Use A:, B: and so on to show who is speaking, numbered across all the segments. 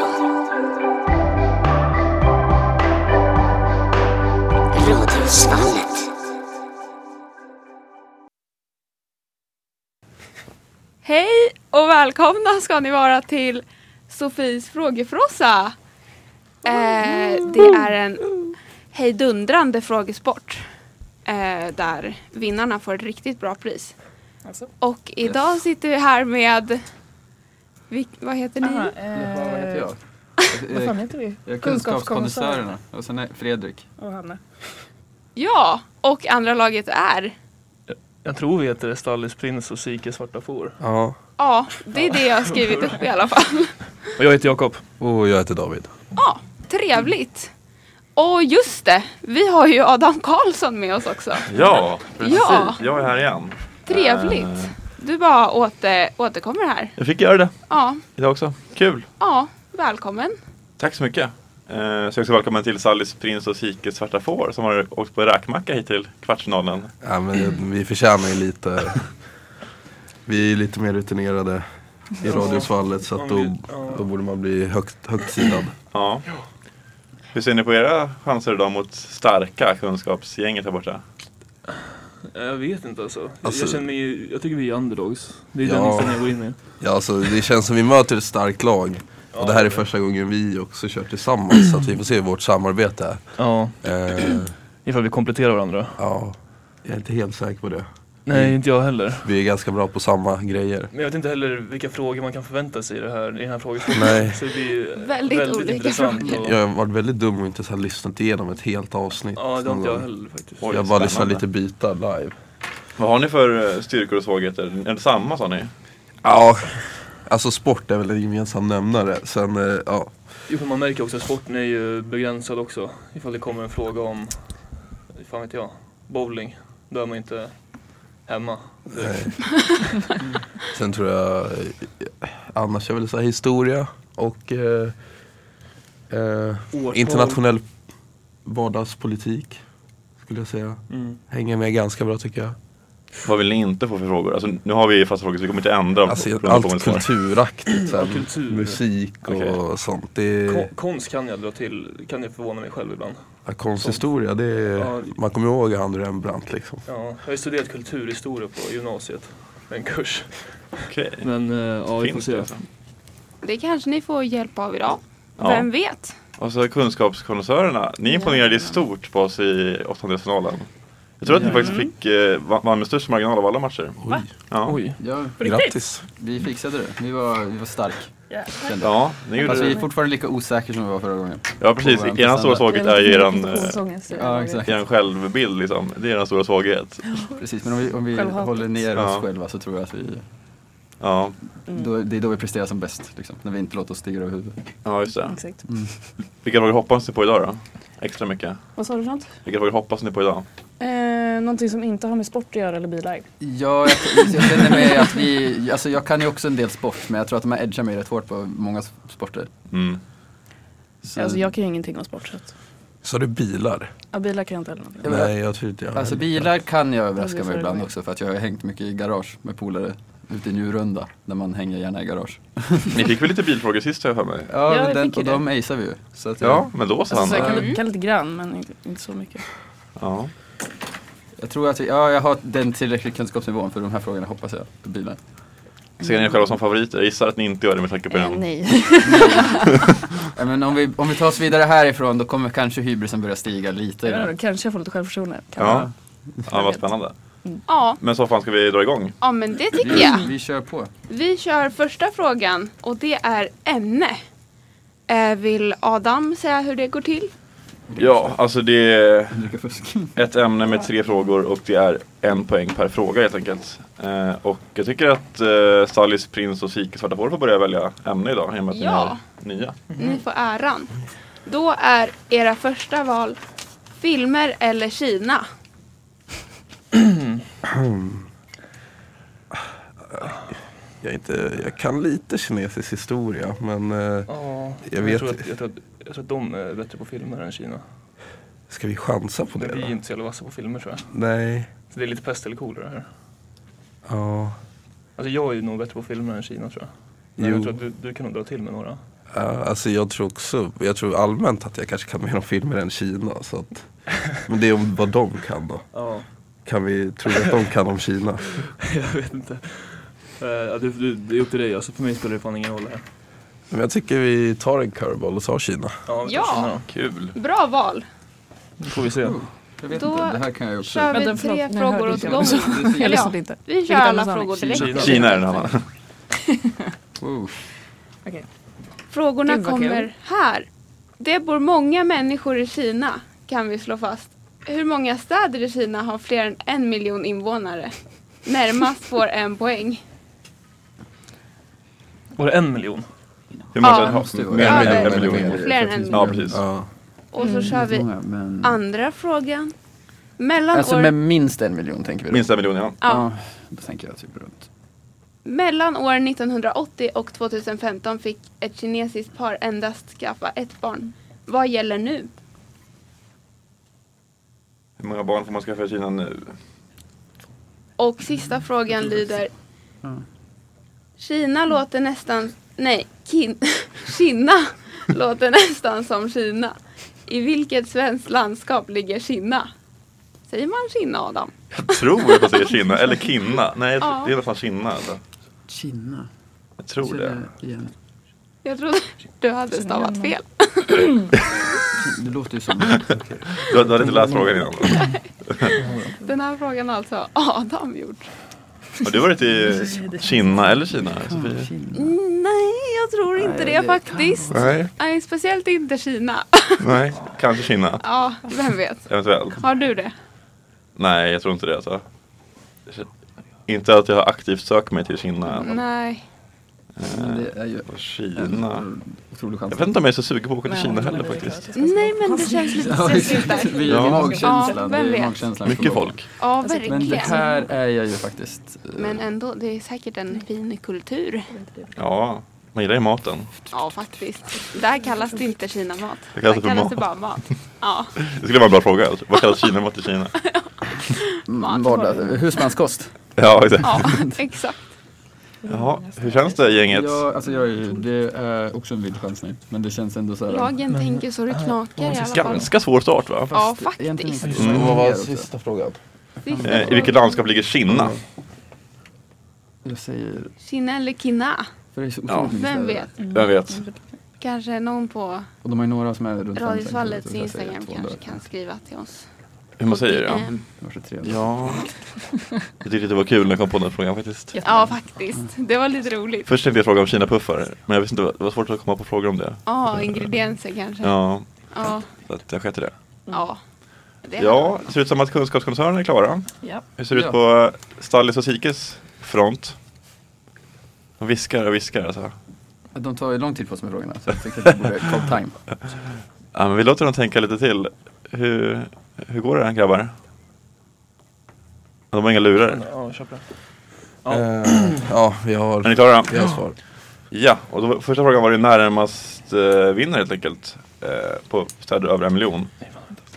A: Studentradion. Radiosvallet.
B: Hej och välkomna ska ni vara till Sofies frågefrossa. Eh, det är en hejdundrande frågesport eh, där vinnarna får ett riktigt bra pris.
C: Alltså.
B: Och idag sitter vi här med, vil, vad heter ni?
C: Aha,
D: Jaha, vad heter
E: Eh,
D: jag?
C: Eh, Vad fan
D: Jag-
C: heter vi?
D: Jag är kunskapskondensörerna. Och sen är Fredrik.
C: Och Hanna.
B: Ja, och andra laget är,
F: Jag tror vi heter Stallis prins och Sike svarta får.
G: Ja.
B: ja det är det jag har skrivit upp i alla fall.
F: Och jag heter Jakob.
G: Och jag heter David.
B: Ja, trevligt. Och just det, vi har ju Adam Karlsson med oss också.
H: Ja, precis.
B: Ja.
H: Jag är här igen.
B: Trevligt. Du bara åter, återkommer här.
H: Jag fick göra det
B: Ja,
H: idag också. Kul.
B: ja, välkommen.
H: Tack så mycket. Eh, så också välkommen till Sallis prins och Sikes svarta får som har åkt på räkmacka hit till kvartsfinalen.
G: Ja, men vi förtjänar ju lite. Vi är ju lite mer rutinerade i radiosvallet så att då, då borde man bli högt, högtsidad.
H: Ja. Hur ser ni på era chanser idag mot starka kunskapsgänget här borta?
F: Jag vet inte alltså.
G: Alltså-
F: jag känner mig, jag tycker vi är underdogs. Det är
G: Ja.
F: den inställningen jag går in med.
G: Ja, alltså, det känns som vi möter ett starkt lag. Och det här är första gången vi också kör tillsammans så att vi får se hur vårt samarbete.
F: Ja,
G: Eh,
F: ifall vi kompletterar varandra.
G: ja, jag är inte helt säker på det.
F: Nej, inte jag heller.
G: Vi är ganska bra på samma grejer.
F: Men jag vet inte heller vilka frågor man kan förvänta sig i, det här, i den här frågan.
G: Nej.
F: Så det blir ju
B: Väldigt
F: väldigt,
B: olika
F: intressant. Och,
G: Jag har varit väldigt dum och inte så här lyssnat igenom ett helt avsnitt.
F: ja, det har
G: någon
F: inte jag
G: gång.
F: heller faktiskt.
H: Oj.
G: jag bara lyssnar
H: Spännande.
G: lite bitar live.
H: Vad har ni för eh, styrkor och svagheter? Är det samma sa ni?
G: Ja, alltså sport är väl en gemensam nämnare. Sen, eh, ja.
F: Jo, för man märker också att sporten är ju begränsad också. Ifall det kommer en fråga om, fan vet jag, bowling. Då är man inte hemma.
G: Sen tror jag, eh, annars jag vill säga historia och eh, eh,
F: Årtal.
G: internationell vardagspolitik. Skulle jag säga.
F: Mm.
G: Hänger med ganska bra tycker jag.
H: Vad vill ni inte få för frågor? Alltså, nu har vi fasta frågor så vi kommer inte ändra
G: Alltså,
H: beroende på vad ni
G: allt
H: svarar.
G: kulturaktigt. Så
F: Mm. Ja,
G: här,
F: kultur.
G: musik och
H: Okej.
G: sånt. Det är,
F: Ko- konst kan jag dra till, kan jag förvåna mig själv ibland.
G: ja, konsthistoria, det
F: Ja.
G: är, man kommer ihåg han Rembrandt liksom.
F: Ja, jag har ju studerat kulturhistoria på gymnasiet, en kurs.
H: Okej.
F: Men eh, ja, vi får
H: Finns det
F: se.
H: alltså?
B: Det kanske ni får hjälp av idag.
H: Ja.
B: Vem vet?
H: Och så kunskapskonnässörerna, ni imponerade ju stort på oss i åttondelsfinalen. Jag tror att ni faktiskt fick, eh, va- vann med störst marginal av alla matcher.
G: Oj,
H: Ja,
F: Oj.
E: Ja,
G: grattis!
E: vi fixade det. Vi var, vi var stark. Kände. jag.
H: ja ni gjorde
E: Fast vi
H: det.
E: är fortfarande lika osäkra som vi var förra gången.
H: Ja precis,
E: Våran
H: er stora
E: prestanda.
H: svaghet är ju eh, er,
E: Ja, exakt.
H: er självbild liksom. Det är er stora svaghet.
E: Precis, men om vi, om vi
C: Självhatet.
E: håller ner oss
H: Ja.
E: själva så tror jag att vi,
H: Ja,
E: då, det är då vi presterar som bäst. Liksom, när vi inte låter oss styra av huvudet.
H: ja just det.
C: Exakt.
H: Vilka frågor hoppas ni på idag då? Extra mycket.
C: Vad sa du för något?
H: Vilka frågor hoppas ni på idag?
C: Eh, någonting som inte har med sport att göra eller bilar.
E: Ja, jag, jag känner mig att vi, alltså jag kan ju också en del sport, men jag tror att de här edgar mig rätt hårt på många s- sporter.
H: Mm.
E: Så,
C: Alltså jag kan ju ingenting om sport. Så att,
G: Sa du bilar?
C: ja, bilar kan jag inte heller någonting om.
E: Ja, men-
G: Nej, jag tror inte jag
E: alltså
G: heller.
E: bilar kan jag
C: Ja, det
E: överraska
C: får
E: mig
C: det
E: ibland
C: vara.
E: också för att jag har hängt mycket i garage med polare ute i Njurunda, där man hänger gärna i garage.
H: Ni fick väl lite bilfrågor sist har jag för mig?
C: Ja,
E: Ja, men
C: vi
E: den,
C: fick ju
E: och de acear vi ju. Så att jag,
H: Ja, men då så
C: Alltså, så jag
H: Hanna.
C: kan, li- kan lite grann men inte, inte så mycket.
H: Ja.
E: Jag tror att vi, ja, jag har den tillräckliga kunskapsnivån för de här frågorna hoppas jag. På bilen.
H: Ser ni er själva som favoriter? Jag gissar att ni inte gör det med tanke på
C: Eh,
H: den.
C: nej.
E: Ja, men om, vi, om vi tar oss vidare härifrån då kommer kanske hybrisen börja stiga lite.
C: Jag vet inte, Kanske jag får lite självförtroende. Kan vara.
H: Ja. ja, vad spännande.
B: Ja,
H: Men så fan ska vi dra igång?
B: ja men det tycker
E: Vi,
B: jag.
E: vi kör på.
B: Vi kör första frågan och det är ämne. Eh, vill Adam säga hur det går till?
H: Ja, alltså det är
E: Dricka fusk.
H: ett ämne med tre frågor och det är en poäng per fråga helt enkelt. Eh, och jag tycker att eh, Sallis prins och Sike svarta får får börja välja ämne idag i och med att
B: Ja.
H: ni har nya.
B: Ni får äran. Då är era första val filmer eller Kina?
G: Jag, är inte, jag kan lite kinesisk historia men eh,
F: Ja,
G: Jag vet
F: tror
G: ju.
F: att, jag, tror att, jag tror att de är bättre på filmer än Kina.
G: ska vi chansa på det
F: Men vi är
G: då?
F: inte så jävla vassa på filmer tror jag.
G: Nej.
F: Så det är lite pest eller kolera här.
G: Ja.
F: Alltså jag är ju nog bättre på filmer än Kina tror jag. Men
G: Jo.
F: jag tror att du, du kan nog dra till med några.
G: Ja, alltså jag tror också, jag tror allmänt att jag kanske kan mer om filmer än Kina. Så att, men det är om vad de kan då.
F: Ja,
G: Kan vi tro att de kan om Kina?
F: jag vet inte. Eh, ja, du, du, det är upp till dig, alltså för mig spelar det fan ingen roll här.
G: Men jag tycker vi tar en curveball och tar Kina.
F: Ja, vi tar
B: Ja.
F: Kina då.
H: Kul.
B: Bra val.
F: Då får vi se.
E: Jag vet
B: Då
E: inte, det här kan jag ju också.
B: Kör
C: Men
B: vi
C: den-
B: tre
C: förlåt, nu
B: frågor
C: hörde
B: åt
C: inte jag.
B: gången.
E: Det-
C: Jag
B: Eller ja,
C: lyssnade inte.
B: Vi kör
C: Vilket ämne
B: alla
C: sa ni?
B: frågor direkt.
F: Kina.
H: Kina är den andra.
E: Wow.
C: Okej.
B: Frågorna
C: Gud, vad kul.
B: kommer här. Det bor många människor i Kina, kan vi slå fast. Hur många städer i Kina har fler än en miljon invånare? Närmast får en poäng.
F: Var det en miljon?
H: Hur många
B: Ja,
H: städer
E: måste ju
H: har
E: vara.
H: mer
B: Ja, det-
H: än en
B: det-
H: miljon?
B: Fler än en
H: Ja, precis.
G: Ja.
B: Och
C: Mm.
B: så kör vi
E: Många, men...
B: andra frågan. Mellan
E: Alltså
B: år...
E: med minst en miljon tänker vi då.
H: Minst en miljon, ja.
B: Ja.
E: Ja, då tänker jag typ runt.
B: Mellan år 1980 och 2015 fick ett kinesiskt par endast skaffa ett barn. Vad gäller nu?
H: Hur många barn får man skaffa i Kina nu?
B: Och sista frågan lyder.
E: Ja.
B: Kina låter nästan, nej, kin, Kina låter nästan som Kina. I vilket svenskt landskap ligger Kina? Säger man Kina Adam?
H: Jag tror att man säger Kina, eller Kinna. Nej, jag tror-
B: Ja.
H: det är nästan Kina. Alltså.
E: Kina.
H: Jag tror det.
E: Igen.
B: Jag trodde du hade stavat fel.
E: Det låter ju som...
H: Du, du hade inte läst frågan innan?
B: Den här frågan har alltså Adam gjort.
H: Har du varit i Kina eller Kina? Sofie?
E: Kina.
B: Nej, jag tror inte
E: Nej,
B: det
E: det
B: faktiskt.
H: Nej,
B: Nej, speciellt inte Kina.
H: nej. Kanske Kina,
B: Ja, vem vet.
H: eventuellt.
B: Har du det?
H: Nej, jag tror inte det. Alltså. Inte att jag har aktivt sökt mig till Kina. än.
B: Nej.
E: Men Det är ju
H: Kina.
E: en otrolig
H: Jag
E: chans.
H: vet inte om jag är så sugen på att åka till Kina heller faktiskt.
B: Nej, men det känns lite stressigt där.
E: Vi är
H: Ja.
B: Ja,
E: magkänslan.
B: vem
E: det är
B: vet.
E: magkänslan
H: Mycket
E: som går.
H: folk.
B: Ja,
E: Alltså, Men det
B: verkligen.
E: här är jag ju faktiskt... eh,
B: Men
H: Mm.
B: ändå, det är säkert
E: Mm.
B: en fin kultur.
H: Ja, man gillar ju maten.
B: Ja, faktiskt. Där kallas det inte Kina-mat. Där
H: Det kallas för
B: kallas
H: mat.
B: det bara mat. Ja,
H: Det skulle vara en bra fråga. Alltså. Vad kallas Kina-mat i Kina?
B: Mat.
E: vardag- Husmanskost.
H: Ja, exakt.
B: ja exakt.
H: Jaha, hur känns det gänget?
E: Jag, alltså jag är ju, det är också en vild chansning. Men det känns ändå så här...
B: Lagen tänker så det knakar i alla fall.
H: Ganska svår start va?
B: Ja,
E: Egentligen
B: faktiskt.
E: inte så
H: Mm,
E: mycket
G: Vad var
E: mer också.
G: sista frågan?
B: Sista
H: Eh, I vilket
B: frågan.
H: landskap ligger Kina?
E: Jag säger...
B: Kina eller Kina?
E: För det är så
H: Ja.
E: otroligt mycket
B: Vem
E: städer.
B: vet?
H: Vem vet?
B: Kanske någon på
E: Och de har ju några som är runt 500
B: Radiosvallets
E: kilometer, så jag säger
B: Instagram
E: 200.
B: kanske kan skriva till oss.
H: Hur man säger ja.
B: Ehm,
E: Det var så trevligt.
H: Ja. Jag tyckte det var kul när jag kom på den här frågan faktiskt.
B: Ja, faktiskt. Det var lite roligt.
H: Först tänkte jag fråga om Kinapuffar, men jag visste inte, det var svårt att komma på frågor om det.
B: Ja, ingredienser kanske. Ja.
H: Ja,
E: Mm.
B: Ja.
H: så att jag sket i det.
B: Det hade
H: Ja,
B: varit
H: det ser ut som att kunskapskoncernen är klara.
C: Ja.
H: Hur ser det ut
E: Ja.
H: på Stallis och Sikes front? De viskar och viskar alltså.
E: De tar ju lång tid på sig med frågorna så jag tycker att det borde call time.
H: Ja, men vi låter dem tänka lite till. Hur, hur går det grabbar? De har inga lurar.
F: Ja, köp det. Ja.
G: Eh, Ja, vi
H: Är ni
G: har,
H: klara?
G: vi har svar.
H: Ja, och då, första frågan var det närmast eh, vinner helt enkelt eh, på städer över en miljon.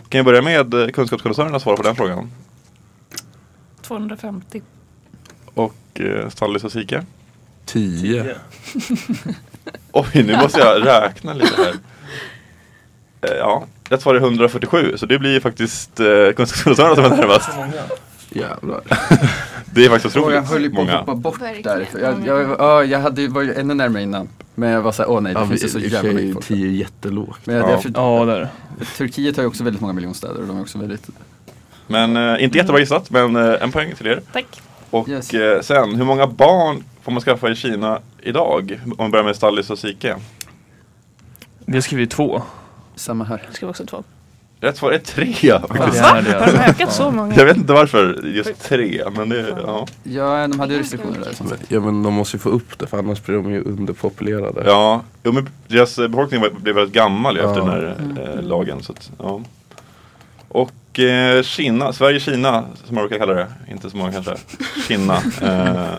H: Kan vi börja med eh, kunskapskoncernerna svara på den frågan?
C: 250.
H: Och eh, Stallis och Sike?
G: Tio.
F: Yeah.
H: Oj, nu måste jag räkna lite här. Eh, ja, rätt svar är 147 så det blir ju faktiskt eh, kunskapskoncernerna som är närmast.
F: Så många.
G: Jävlar.
H: Det är faktiskt
E: Och jag
H: otroligt
E: höll ju på att hoppa
H: många.
E: bort
B: Verkligen.
E: där. För jag, jag, ja, jag hade, ju- var ju ännu närmare innan. Men jag var såhär, åh nej det
G: Ja,
E: finns ju
G: vi,
E: så
G: i och
E: jävla
G: för sig,
E: mycket folk.
G: tio är jättelågt.
E: Men jag,
H: Ja.
E: därför,
F: Ja, där.
E: Turkiet har ju också väldigt många miljonstäder och de är också väldigt...
H: Men eh, inte jättebra gissat, men eh, en poäng till er.
C: Tack.
H: Och
E: Yes.
H: eh, sen, hur många barn får man skaffa i Kina idag? Om vi börjar med Stallis och Sike.
F: Vi har skrivit två.
E: Samma här.
C: Jag skrev också två.
H: Rätt svar är tre.
F: Jävlar, det är
C: Har de
F: alltså.
C: ökat så många?
H: Jag vet inte varför just tre, men det, ja.
E: Ja, de hade ju restriktioner där. liksom. Som sagt.
G: Ja men de måste ju få upp det för annars blir de ju underpopulerade.
H: Ja, jo, men deras befolkning var- blev väldigt gammal ju efter
G: Ja.
H: den
E: Mm.
H: här eh, lagen. Så att, ja. Och eh, Kina, Sverige-Kina som man brukar kalla det, inte så många kanske. Kina, eh,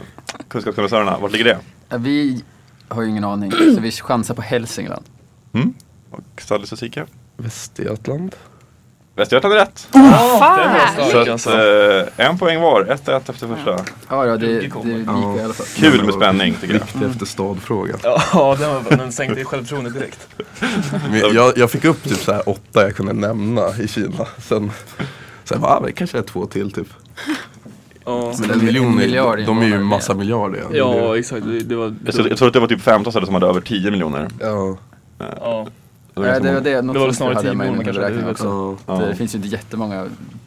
H: kunskapskommissarierna, vart ligger det?
E: Ja, Vi har ju ingen aning, så vi chansar på Hälsingland.
H: Mm? Och Stallis och Sike?
G: Västergötland.
H: Västergötland är rätt.
F: Den var stark
H: Så att,
F: alltså.
H: eh, en poäng var, 1-1 efter första.
E: Ja, ja, det, det
F: Jocke
E: gick
F: kommer.
E: ju i
G: Ja.
E: alla fall.
H: Kul med spänning tycker jag.
E: Mm.
G: Viktig efter stadfrågan.
F: Ja, den, var, den sänkte ju självförtroendet direkt.
G: Men jag, jag fick upp typ så här åtta jag kunde nämna i Kina. Sen, sen bara, ah, men det kanske är två till typ.
F: Ja,
G: Men
E: det
G: en
E: är
G: miljon,
E: en
G: är,
E: miljard
G: de är ju
E: invånare.
G: massa miljarder. ja. Det är
F: ja
G: ju-
F: exakt. Det, det var...
H: Jag tror- jag tror att det var typ 15 städer som hade över 10 miljoner.
G: ja.
F: Ja.
H: Det var
E: Nej,
H: ganska
E: det var
H: många.
E: det. Något
F: Det var väl
E: sånt
F: snarare
E: hade jag
F: 10
E: med i
F: miljoner
E: den här
F: kanske, det är
E: beräkningen
F: väl
E: också.
H: Ja.
E: Det finns ju inte jättemånga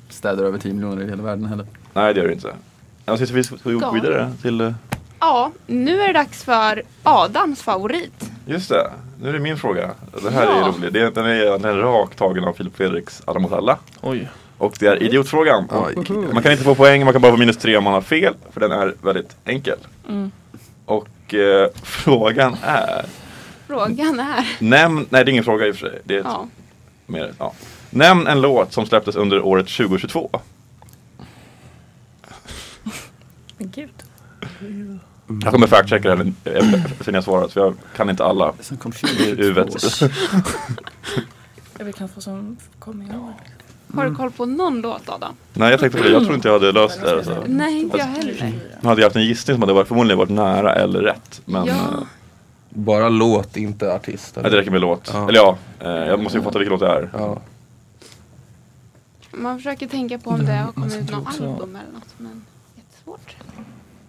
E: städer över 10 miljoner i hela världen heller.
H: Nej, det gör det inte. Ja, så vi ska vi gå
B: Ja.
H: vidare till... eh,
B: Ja, nu är det dags för Adams favorit.
H: Just det, nu är det min fråga. Det här
B: Ja.
H: är roligt. Det är- Den är, den är rakt tagen av Filip Fredriks Alla mot alla.
F: Oj.
H: Och det är idiotfrågan.
G: Aj.
H: Och man kan inte få poäng, man kan bara få minus tre om man har fel. För den är väldigt enkel.
B: Mm.
H: Och eh, frågan är...
B: Frågan är...
H: Nämn, nej det är ingen fråga i och för sig. Det är ett,
B: Ja.
H: mer, ja. Nämn en låt som släpptes under året 2022.
C: Men gud.
B: Mm.
H: Jag kommer factchecka den sen jag svarat för jag kan inte alla
E: Som
H: i huvudet.
C: Jag vet knappt vad som kom i år.
B: Har du koll på någon låt Adam?
H: Nej jag tänkte på det, jag tror inte jag hade löst det här. Alltså.
B: Nej, inte jag heller.
H: Nu hade jag haft en gissning som hade varit, förmodligen varit nära eller rätt. Men
B: Ja.
H: eh,
G: Bara låt, inte artist.
H: nej, det räcker med låt.
G: Ja.
H: Eller ja, eh, jag måste ju fatta vilken låt det är.
G: Ja.
B: Man försöker tänka på om det har kommit ut
F: tror
B: någon
F: också-
B: album eller något, men jättesvårt.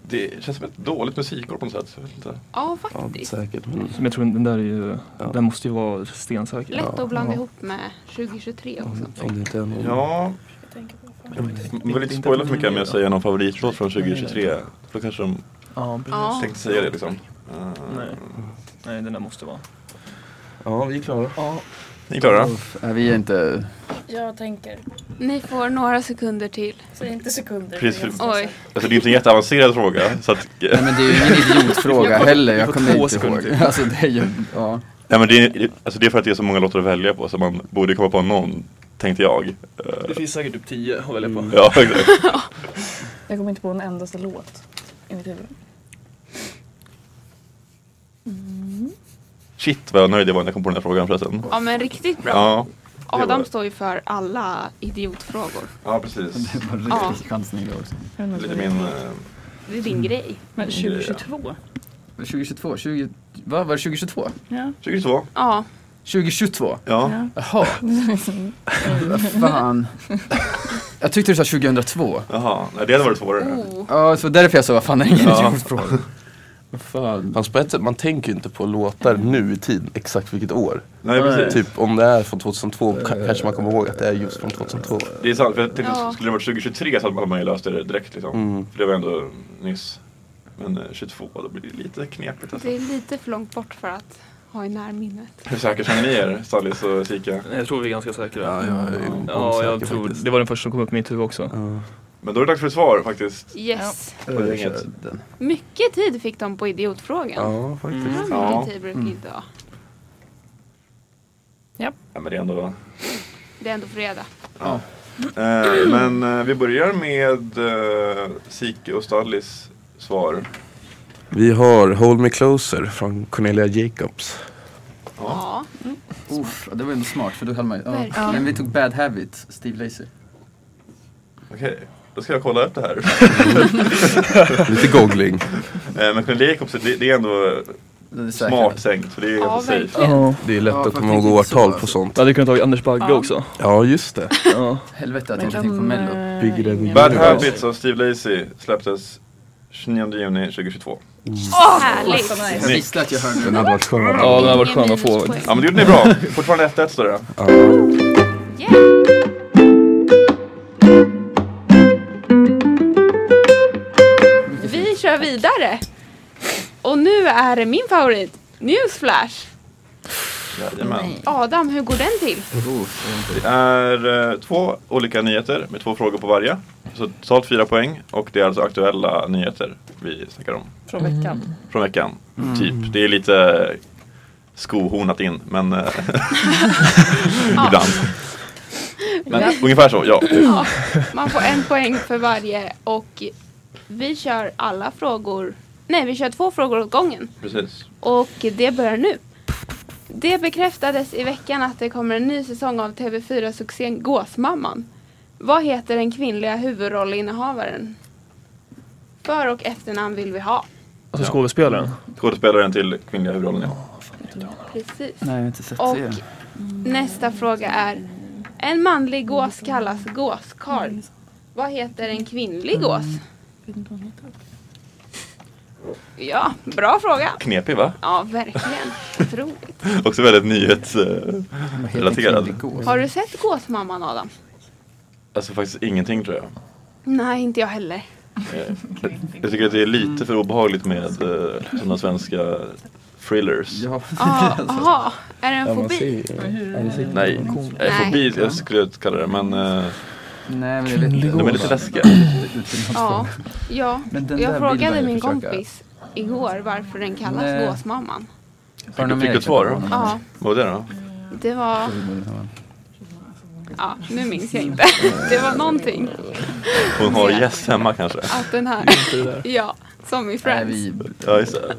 H: Det känns som ett dåligt musikår på något sätt. Jag vet inte.
B: Ja,
G: Ja,
B: faktiskt.
G: säkert. Men...
F: Men jag tror den där är ju,
G: Ja.
F: den måste ju vara stensäker.
B: Lätt att blanda ihop med 2023 också.
G: Om det inte är någon...
H: Ja, man vill inte spoila för mycket med att säga någon favoritlåt från 2023. För Då kanske de
F: Ja, precis.
B: Ja.
H: tänkte säga det liksom. Eh,
F: Nej. Nej, den där måste vara.
G: ja, vi är klara.
H: Ni är klara?
E: Nej, vi är inte...
I: Jag tänker.
B: Ni får några sekunder till.
I: Så inte sekunder.
H: Precis, för-
B: Oj.
H: Alltså det är inte en jätteavancerad fråga. Så att,
E: Nej, men det är ju ingen idiotfråga heller. Jag
F: får
E: kommer
F: två
E: inte
F: sekunder
E: ihåg.
F: till.
E: Alltså det är ju... Ja.
H: nej, men det, är, alltså det är för att det är så många låtar att välja på så man borde komma på någon, tänkte jag. Eh,
F: Det finns säkert typ tio att välja
G: Mm.
F: på.
H: Ja, exakt.
I: Jag kommer inte på en endaste låt i mitt huvud.
H: Shit vad jag nöjd jag var när jag kom på den här frågan förresten.
B: Ja, men riktigt bra.
H: Ja,
B: Adam står ju för alla idiotfrågor.
H: ja precis.
E: Det var en
B: Ja.
E: riktig chansning då också.
H: Lite min... eh,
B: Det är din grej.
C: Men 2022?
E: 2022? 20... Vad var det 2022?
C: Ja.
H: 2022.
B: Ja,
E: 2022?
H: Ja.
E: Jaha. Vad Fan. Jag tyckte du sa 2002.
H: Jaha, nej det hade varit svårare.
B: oh.
E: Ja, så därför jag sa vad fan det är ingen
H: Ja.
E: idiotfråga. Vad fan.
G: Fast Alltså, på ett sätt, man tänker ju inte på låtar nu i tiden, exakt vilket år.
H: Nej precis.
G: Typ om det är från 2002 ka- kanske man kommer ihåg att det är just från 2002.
H: Det är sant, för jag tänkte,
B: Ja.
H: skulle det varit 2023 så hade man- man ju löst det direkt liksom.
G: Mm.
H: För det var ändå nyss. Men eh, 22, då blir det lite knepigt alltså.
B: Det är lite för långt bort för att ha i närminnet.
H: Hur säkert känner ni er, Stallis och Sika?
F: Jag tror vi är ganska säkra.
G: Ja, jag är osäker
F: Ja, jag tror
G: faktiskt.
F: det var den första som kom upp i mitt huvud också.
G: Ja.
H: Men då är det dags för ett svar faktiskt.
B: Yes.
H: På gänget.
B: Mycket tid fick de på idiotfrågan.
G: Ja, faktiskt.
B: Så mycket
H: Ja.
B: tid brukar inte ha.
H: Ja, men det är ändå...
B: Det är ändå fredag.
H: Eh, men eh, vi börjar med eh, Sike och Stallis svar.
G: Vi har Hold Me Closer från Cornelia Jacobs.
B: Ja.
E: Uff, det var ändå smart för då hade man ju... Ja.
B: Verkligen.
E: Men vi tog Bad Habit, Steve Lacy.
H: Okej, då ska jag kolla upp det här.
G: Lite googling.
H: Eh, men Cornelia Jacobs, det, det är ändå
E: Det är säkert.
H: smart sänkt. Så det är
B: Ja,
H: ganska safe.
B: verkligen.
G: Det är lätt
E: Ja,
G: att
E: fast
G: komma ihåg
E: inte så,
G: årtal på
E: alltså.
G: sånt.
F: Jag hade kunnat tagit Anders Bagge
C: Ja.
F: också.
G: Ja, just det.
F: Ja.
E: Helvete att
C: Men
E: jag inte tänkte på Mello.
C: eh,
G: Bigger than
C: ingen-
H: Bad
G: Mm.
H: Habits av Steve Lacy släpptes 29 juni 2022.
B: Åh, härligt!
E: Jag visste att jag hörde
G: Den
E: den.
G: hade varit skön. att
F: Ja,
G: ha.
F: den har varit
B: Ingen
F: skön att få.
B: minuspoäng.
H: Ja men det gjorde ni bra. Fortfarande 1-1 står det.
B: Yeah. Vi kör vidare. Och nu är det min favorit, Newsflash.
H: Jajamän.
B: Adam, hur går den till?
H: Det är eh, två olika nyheter med två frågor på varje. Så totalt fyra poäng och det är alltså aktuella nyheter vi snackar om
C: Från veckan.
H: från veckan.
E: Mm.
H: Typ. Det är lite skohornat in men eh, ibland. Men ungefär så, ja.
B: Ja, man får en poäng för varje och vi kör alla frågor. Nej, vi kör två frågor åt gången.
H: Precis.
B: Och det börjar nu. Det bekräftades i veckan att det kommer en ny säsong av TV4-succén Gåsmamman. Vad heter den kvinnliga huvudrollinnehavaren? För och efternamn vill vi ha.
F: Alltså skådespelaren?
H: Skådespelaren till kvinnliga huvudrollen, ja.
B: Precis.
E: Nej, jag har inte sett
B: Och
E: serien.
B: nästa fråga är. En manlig gås kallas gåskarl. Vad heter en kvinnlig gås? Ja, bra fråga.
H: Knepig va?
B: Ja, verkligen. Otroligt.
H: Också väldigt nyhets... eh,
E: Vad heter
H: relaterad.
E: den kvinnlig gås?
B: Har du sett Gåsmamman Adam?
H: Alltså faktiskt ingenting tror jag.
B: Nej, inte jag heller.
H: Eh, Jag tycker att det är lite för obehagligt med eh, sådana svenska thrillers.
E: Ja,
B: Ah, Jaha,
E: Alltså.
B: är det en
G: man
B: fobi?
G: ser
H: Nej, eh, fobi jag skulle jag inte kalla det men eh,
E: nej men det är lite...
H: de är lite läskiga.
B: Ja, ja.
E: Men den
B: jag
E: där bilden
B: frågade
E: jag
B: min
E: försöker-
B: kompis igår varför den kallas
E: Nej.
B: Gåsmamman.
E: Har du någon
H: Fick
E: mer
H: du ett svar?
E: exempel på
B: Ja,
H: Vad var det då?
B: det var...
E: honom?
B: Ja, nu minns jag inte. Det var någonting.
H: Hon har gäss hemma kanske?
B: Att den här... Ja, som i
E: Nej,
B: Friends.
E: vi...
H: Ja, just det.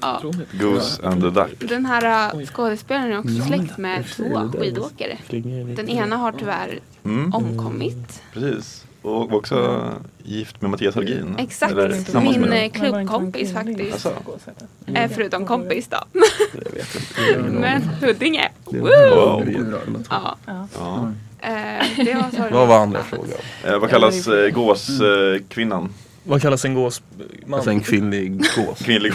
B: Ja.
H: Goose and the Duck.
B: Den här äh, skådespelaren är också släkt med två skidåkare. Den ena har tyvärr
H: Mm,
B: omkommit.
H: precis. Och var också gift med Mattias Holgin.
E: Mm.
B: Exakt.
H: Eller tillsammans
B: Min
H: med
B: eh,
H: honom.
B: klubbkompis faktiskt.
H: Alltså,
B: Eh, Förutom kompis då. Men
G: Men...
B: Huddinge.
H: Wow.
B: Ja.
H: ja.
B: Eh, Det var sorgligt.
G: Vad var andra frågan?
H: eh, vad kallas eh, gåskvinnan?
F: Vad kallas en gås... Man?
G: Alltså en kvinnlig gås.
H: Kvinnlig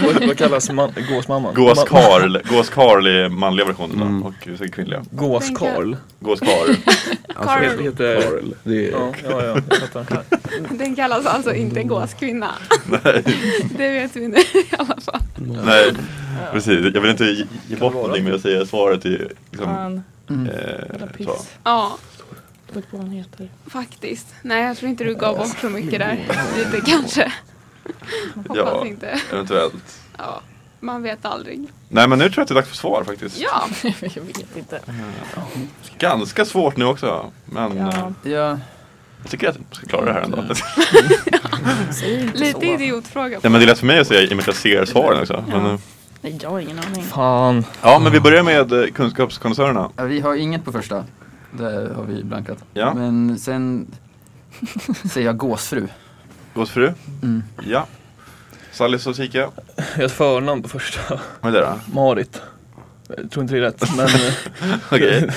F: vad, vad kallas man, gåsmamman?
H: gåskarl. Gåskarl är manliga versionen
G: Mm.
H: då, och säkert kvinnliga.
F: Gåskarl?
H: Gåskarl.
G: Alltså,
F: Det
B: Carl,
F: heter...
G: Karl. Det är...
F: Ja, ja, ja, jag fattar.
B: den kallas alltså inte gåskvinna. Det vet vi nu i alla fall.
H: Nej, precis. Jag vill inte ge- ge bort någonting men jag säger svaret är liksom...
I: Fan, jävla
H: Eh, så.
I: piss.
B: Ja,
I: Jag vet vad han heter.
B: faktiskt. Nej, jag tror inte du gav bort så mycket där. Lite kanske. Hoppas
H: Ja.
B: inte.
H: Eventuellt.
B: Ja, man vet aldrig.
H: Nej men nu tror jag att det är dags för svar faktiskt.
B: Ja,
I: Jag vet inte.
H: Ganska svårt nu också. Men eh,
I: Ja,
E: Ja,
H: jag tycker att jag ska klara det här ändå.
I: säg inte
B: lite
I: så.
B: idiotfråga.
H: Nej men det är lätt för mig att säga i och med att jag ser svaren också. Men, eh,
I: Nej, jag har ingen aning.
F: Fan.
H: ja men vi börjar med eh, kunskapskonnässörerna.
E: Ja, vi har inget på första. Där har vi blankat.
H: Ja.
E: Men sen säger jag gåsfru.
H: Gåsfru.
E: Mm.
H: Ja. Sallis och Sika.
F: Jag har ett förnamn på första.
H: Vad är det då?
F: Marit. Jag tror inte det är rätt men... eh,
H: Okej.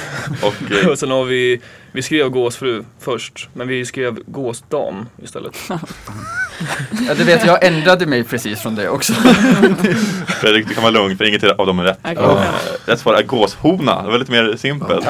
H: Och eh,
F: Och sen har vi, vi skrev gåsfru först, men vi skrev gåsdam istället.
E: Ja, du vet, jag ändrade mig precis från det också.
H: Fredrik, du kan vara lugn för inget av dem är rätt.
I: Okej.
H: Eh, Rätt svar är gåshona. Det var lite mer simpelt.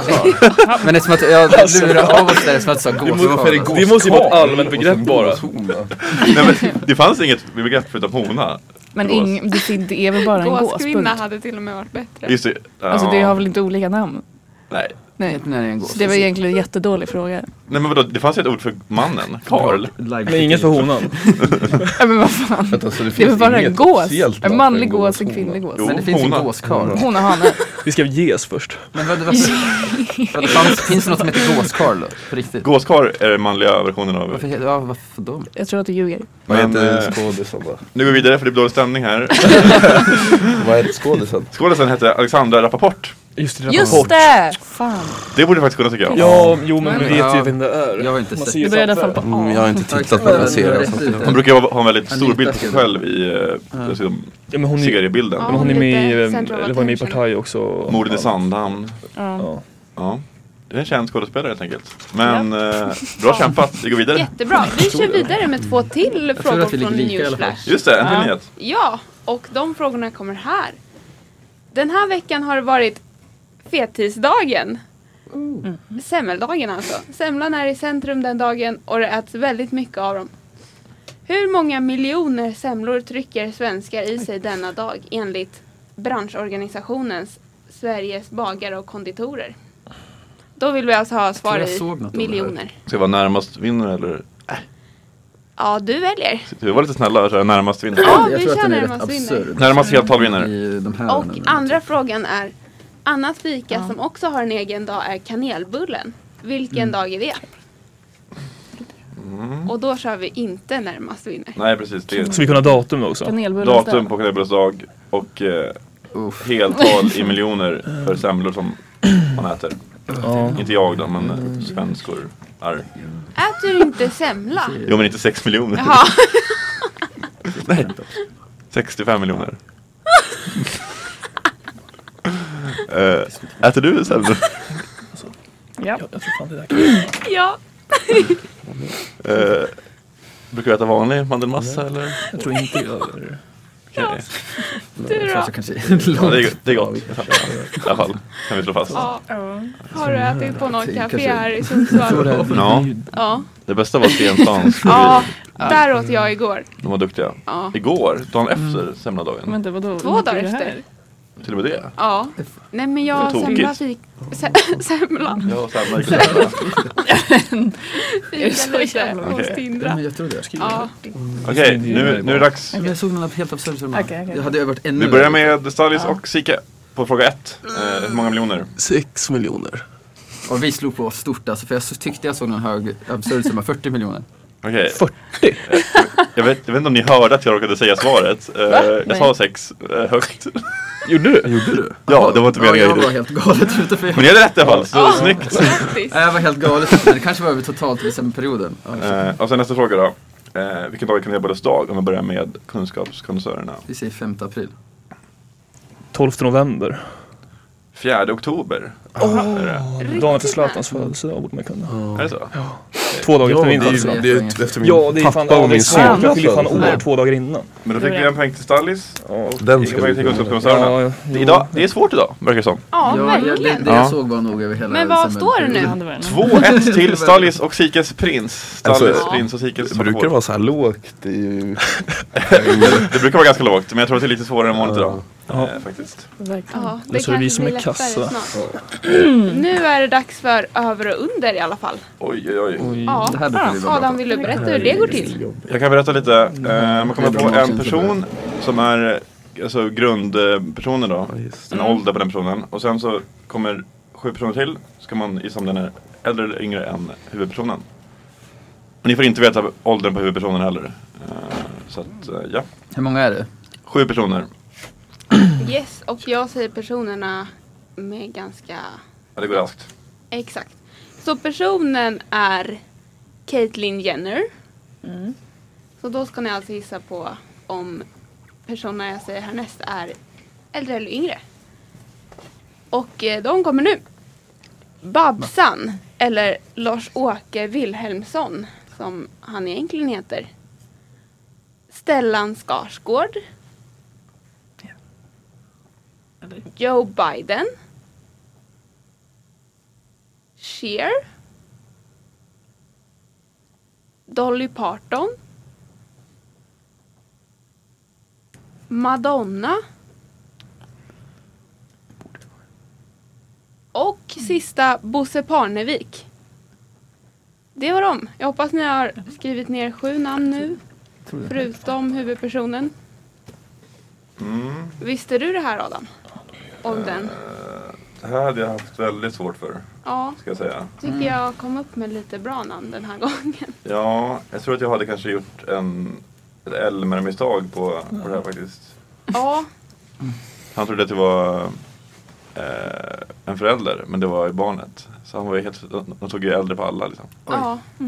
E: Men eftersom att jag lurade av oss där, eftersom att jag sa gåskarl.
F: Det måste ju vara ett allmänt begrepp bara.
H: Nej, men, det fanns inget begrepp förutom hona.
I: Men
H: Gås.
I: ing, det, fin- det är väl bara en gås?
B: Gåskvinna
I: punkt.
B: hade till och med varit bättre.
H: Just det. Ja.
I: Alltså det har väl inte olika namn?
H: Nej.
E: Nej, nej, det är en gås.
I: Så det var egentligen en jättedålig fråga.
H: Nej men vadå, det fanns ju ett ord för mannen. Karl.
F: Men inget för honan.
I: Ja, men vad fan.
G: Alltså,
I: Det är väl
G: finns
I: bara en
G: inget
I: gås?
G: officiellt namn för
I: En manlig gås, en
G: hona.
I: kvinnlig gås.
H: Jo.
E: Men det finns en
H: Hona.
E: gåskarl.
I: Hon och hane.
F: Vi skrev ges först.
E: Men vad, vad, vad fanns, finns det något som heter gåskarl då? På riktigt?
H: Gåskar är den manliga versionen av.
E: Varför, heter- ja, varför då?
I: Jag tror att du ljuger.
G: Vad
H: Men,
G: heter
H: eh,
G: skådisen då?
H: Nu går vi vidare för det blir dålig stämning här.
G: Vad heter skådisen?
H: Skådisen hette Alexandra Rappaport.
F: Just det,
I: Just det! Fan.
H: Det borde du faktiskt kunna tycker jag.
F: Ja, jo men vi
E: Men-
F: vet
E: Ja.
F: ju vem det är.
E: Jag har inte
F: Man
E: sett
F: ser ju
I: Det började i alla fall
F: framför.
I: på
G: Mm,
I: A.
G: jag har inte tittat på den serien. så att jag-
H: Hon brukar ha en väldigt stor
E: Anita
H: bild på sig
E: skrev
H: själv i eh, dessutom
F: Ja, men hon är,
H: seriebilden.
B: Ja.
F: men hon är med i,
B: Lite
F: eh,
B: central
F: eller var med i
B: attention.
F: Partaj också.
H: Morden i Sandhamn.
I: Ja.
F: Ja.
H: Ja. Det är en känd skådespelare helt enkelt. Men eh, bra kämpat, vi går vidare.
B: Jättebra. Vi kör vidare med två till frågor
E: att vi ligger
B: från
E: lika i alla fall.
B: Newsflash.
H: Just det, en till
I: Ja.
H: nyhet.
B: Ja, och de frågorna kommer här. Den här veckan har det varit fettisdagen.
E: Mm.
B: Semmeldagen alltså. Semlan är i centrum den dagen och det äts väldigt mycket av dem. Hur många miljoner semlor trycker svenskar i sig denna dag enligt branschorganisationens Sveriges bagare och konditorer? Då vill vi alltså ha svar
E: jag
B: i
E: såg något om det här.
B: miljoner.
H: Ska jag vara närmast vinner eller?
B: Ja, du väljer.
H: Vi var lite snälla och sa närmast vinner.
B: Ja,
E: jag
B: vi
E: tror att
B: kör
E: den är
B: närmast
E: rätt
B: vinner.
E: absurd.
H: Närmast heltal vinner.
E: I de här
B: Och andra frågan är, annat fika
I: Ja.
B: som också har en egen dag är kanelbullen. Vilken
E: Mm.
B: dag är det? Och då kör vi inte närmast vinner.
H: Nej precis, det är
F: Ska vi kunna datum också?
I: Kanelbullens
H: datum på kanelbullens dag och eh,
E: Uff.
H: heltal i miljoner för semlor som man äter. Inte jag då, men eh, svenskor är.
B: Äter du inte semla?
H: Jo men inte 6 miljoner.
B: Jaha.
H: Nej. 65 miljoner. Eh, äter du semlor?
C: Ja.
F: Jag tror fan det där kan...
B: Ja.
H: Eh, brukar du äta vanlig mandelmassa eller?
F: Jag tror inte jag gör det.
H: Okej.
B: Du då?
E: Fast jag kanske
H: Ja, det, är, det är gott. I alla fall, kan vi slå fast.
B: Ja.
C: Ja.
B: Har du ätit på något
E: Tänk,
B: café
E: kanske-
B: här i Sundsvall?
H: Ja,
B: Ja.
H: det bästa var Stenstans.
B: Ja, där åt jag igår.
H: De var duktiga.
B: Ja.
H: Igår, dagen efter semladagen.
C: Vänta, vadå?
B: Två dagar
C: Gjorde du det här?
B: efter.
H: Till och med det.
B: Ja. Nej men jag
H: Det var
B: semla
H: tokigt.
B: fik... se- Semla.
H: Jag och Sam gick och köpte.
C: är
B: Fika
C: så
B: lite
C: jävla-
B: hos
H: Okej.
E: Ja,
B: Tindra.
E: men jag tror det.
B: Ja.
H: Okej, nu, nu är det dags.
E: Men Jag såg några helt absurda okay,
I: Okej, okej.
E: Jag hade varit ännu
H: Vi börjar med Stallis och Sike på fråga ett. Eh, hur många miljoner?
G: Sex miljoner.
E: Och vi slog på stort alltså, för jag tyckte jag såg någon hög absurd summa, 40 miljoner.
H: Okej. 40? Jag vet, jag vet inte om ni hörde att jag råkade säga svaret. Eh, jag sa
C: Nej.
H: sex eh, högt.
F: Gjorde du?
G: Gjorde du?
H: Ja, det var inte meningen.
E: Ja, jag var helt galet ute för jag,
H: Men ni hade rätt i alla fall, så
B: Ja.
H: snyggt.
B: Grattis.
E: Nej, jag var helt galet ute, men det kanske var över totalt i decemberperioden. Ja,
H: Eh, och sen nästa fråga då. Eh, vilken dag kan det vara dag om vi börjar med kunskapskonnässörerna?
E: vi säger 5 april.
F: 12 november.
H: 4 oktober. Är, det,
F: Dagen efter Zlatans födelsedag borde man kunna.
H: är det så?
F: Två dagar
G: Ja,
F: efter
G: det
F: min
G: är,
F: födelsedag.
G: det är efter min
F: Ja, det är fan
G: pappa och min
F: Alex.
G: son.
F: Jag fyller ju fan år
E: födelsedag.
F: två dagar innan.
H: Men då fick vi en poäng till Stallis.
F: Ja,
G: Den
H: Ingen
G: ska
H: poäng
G: vi
H: till
G: gå med.
H: kunskapskonnässörerna.
F: ja,
H: Det, idag- det är svårt idag, verkar det som.
B: Ja,
E: jag, jag, det,
B: verkligen.
E: det jag
H: Ja.
E: såg var nog över hela
B: Men vad står det
E: decemberperioden.
B: nu?
C: Ja, det var det.
H: 2-1 till Stallis och Sikes prins. Stallis
G: Alltså,
H: prins och Sikes
G: Det brukar
H: Soffor.
G: vara så här lågt i...
H: Det brukar vara ganska lågt, men jag tror att det är lite svårare än vanligt idag.
F: Ja.
H: Eh, faktiskt.
I: Verkligen.
B: Ja, det
F: Nu så är det vi
B: kanske
F: som
B: blir
F: är
B: lättare
F: kassa.
B: snart. Nu är det dags för över och under i alla fall.
H: Oj, oj, oj.
B: Ja.
E: Det här brukar vi vara bra
B: Adam,
E: på.
B: vill du berätta hur det går till?
H: Jag kan berätta lite. Eh, man kommer
E: Det är
H: på
E: bra,
H: en
E: känns det
H: person som är eh, alltså, grundpersonen då. En ålder på den personen. Och sen så kommer sju personer till. Så kan man gissa om den är äldre eller yngre än huvudpersonen. Men ni får inte veta åldern på huvudpersonen heller. Eh, så att, eh, ja.
E: Hur många är det?
H: Sju personer.
B: Yes, och jag säger personerna med ganska
H: Ja, det går raskt.
B: exakt. Så personen är Caitlyn Jenner. Så då ska ni alltså gissa på om personerna jag säger härnäst är äldre eller yngre. Och eh, de kommer nu. Babsan, eller Lars-Åke Wilhelmsson som han egentligen heter. Stellan Skarsgård.
C: Eller?
B: Joe Biden. Cher. Dolly Parton. Madonna. Och sista Bosse Parnevik. Det var dem. Jag hoppas ni har skrivit ner sju namn nu. Förutom huvudpersonen.
H: Mm.
B: Visste du det här Adam? Om den?
H: Det här hade jag haft väldigt svårt för,
B: Ja,
H: ska jag säga.
B: tycker jag kom upp med lite bra namn den här gången.
H: Ja, jag tror att jag hade kanske gjort en, ett Elmer-misstag på, på det här faktiskt.
B: Ja,
H: Han trodde att det var eh, en förälder, men det var ju barnet. Så han var ju helt, de tog ju äldre på alla liksom.
B: ja.
C: Ja,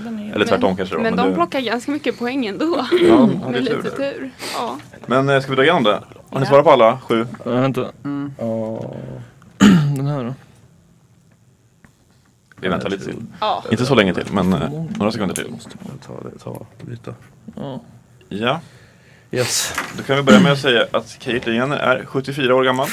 C: den är ju-
H: Eller tvärtom kanske det var.
B: Men de
H: det-
B: plockar ganska mycket poäng ändå.
H: Ja, de hade
B: Med
H: ju tur
B: lite
H: där.
B: tur. Ja.
H: Men eh, ska vi dra igenom det? Har ni
B: Ja.
H: svarat på alla sju?
F: Ja, vänta.
E: Mm.
F: Ja. Den här då?
H: Vi väntar lite till.
B: ja.
H: Inte så länge till, men eh, några sekunder till.
G: Jag tar det, ta, byta.
F: Ja.
H: Ja,
G: Yes.
H: då kan vi börja med att säga att Caitlyn Jenner är 74 år gammal.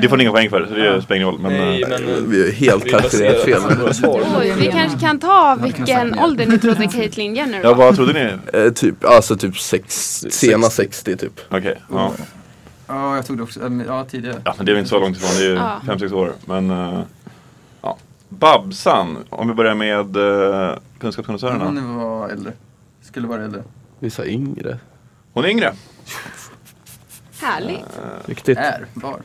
H: Det får ni inga poäng för, så det spelar ingen roll. Men,
F: Nej,
H: eh,
F: men... eh,
G: Vi har helt
F: vi baserar
G: kalkylerat
F: det på
G: fel.
F: några svar.
B: Oj, vi kanske kan ta vilken ålder ni trodde Caitlyn Jenner
H: Ja,
B: var.
H: vad trodde ni?
G: Eh, typ, alltså typ sex, sena 60 typ.
H: Okej, ja.
E: Ja, jag tog det också. äm, Ja, tidigare.
H: Ja, men det är väl inte så långt ifrån, det är ju
B: Ja.
H: 5-6 år. Men eh, ja. Babsan, om vi börjar med uh, kunskapskonnässörerna. Hon,
E: Hon var äldre. Skulle vara äldre.
G: Vi sa yngre.
H: är yngre,
B: Härligt.
G: Viktigt.
E: Är, var.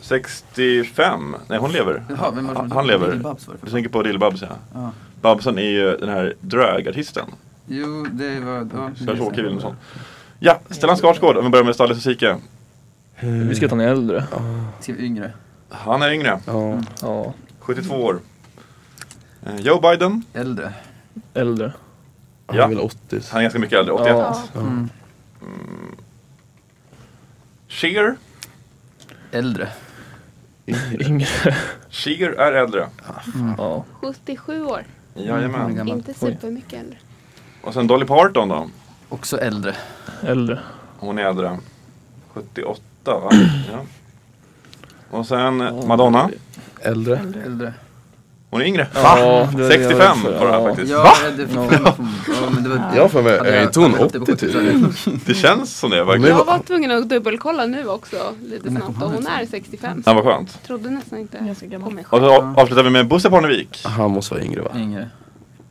H: 65. Nej, hon lever.
E: Jaha, vem var det som-
H: Han lever.
E: Lil Babs var det
H: Du
E: för.
H: tänker på Lill-Babs ja.
E: Ja.
H: Babsan är ju den här drögartisten.
E: Mm. Jo, det var... Ja, Mm.
H: Lars-Åke Wilhelmsson. Ja, Stellan Skarsgård om vi börjar med Stalles och Sike.
F: Vi ska ta en äldre.
E: Till yngre.
H: Han är yngre,
G: Ja.
F: Ja,
H: 72 år. Eh, Joe Biden,
E: Äldre.
F: äldre.
G: Han
H: Ja.
G: är väl 80.
H: han är ganska mycket äldre, 81.
F: Ja.
E: Mm.
H: Sheer,
E: Äldre.
F: Yngre.
H: Sheer är äldre.
F: Ja.
B: 77 år.
F: Mm.
E: Han är
H: Jajamän.
E: gammal.
B: Inte supermycket äldre.
H: Och sen Dolly Parton då.
E: Också äldre.
F: Äldre.
H: Hon är äldre. 78 va?
F: Mm.
H: Ja. Och sen eh, Madonna.
G: Äldre.
E: Äldre.
H: Hon är yngre.
F: Ja, det är jag
H: 65
F: rädd för.
H: var det här
F: Ja.
H: faktiskt.
E: Ja, det fick ja, men det var...
G: Jag har för mig,
E: Hade
G: är
E: jag-
G: inte hon
E: hade jag haft det på
G: 80 typ?
E: 70-talet?
H: Det känns som det verkligen.
B: Jag var tvungen att dubbelkolla nu också lite snabbt och hon är 65.
H: Ja, vad skönt.
B: Trodde nästan inte
I: Ganska gammal.
B: på mig
H: Och
B: själv.
H: så av- avslutar vi med Bosse Parnevik.
G: Han måste vara yngre va?
F: Mm.
E: Yngre.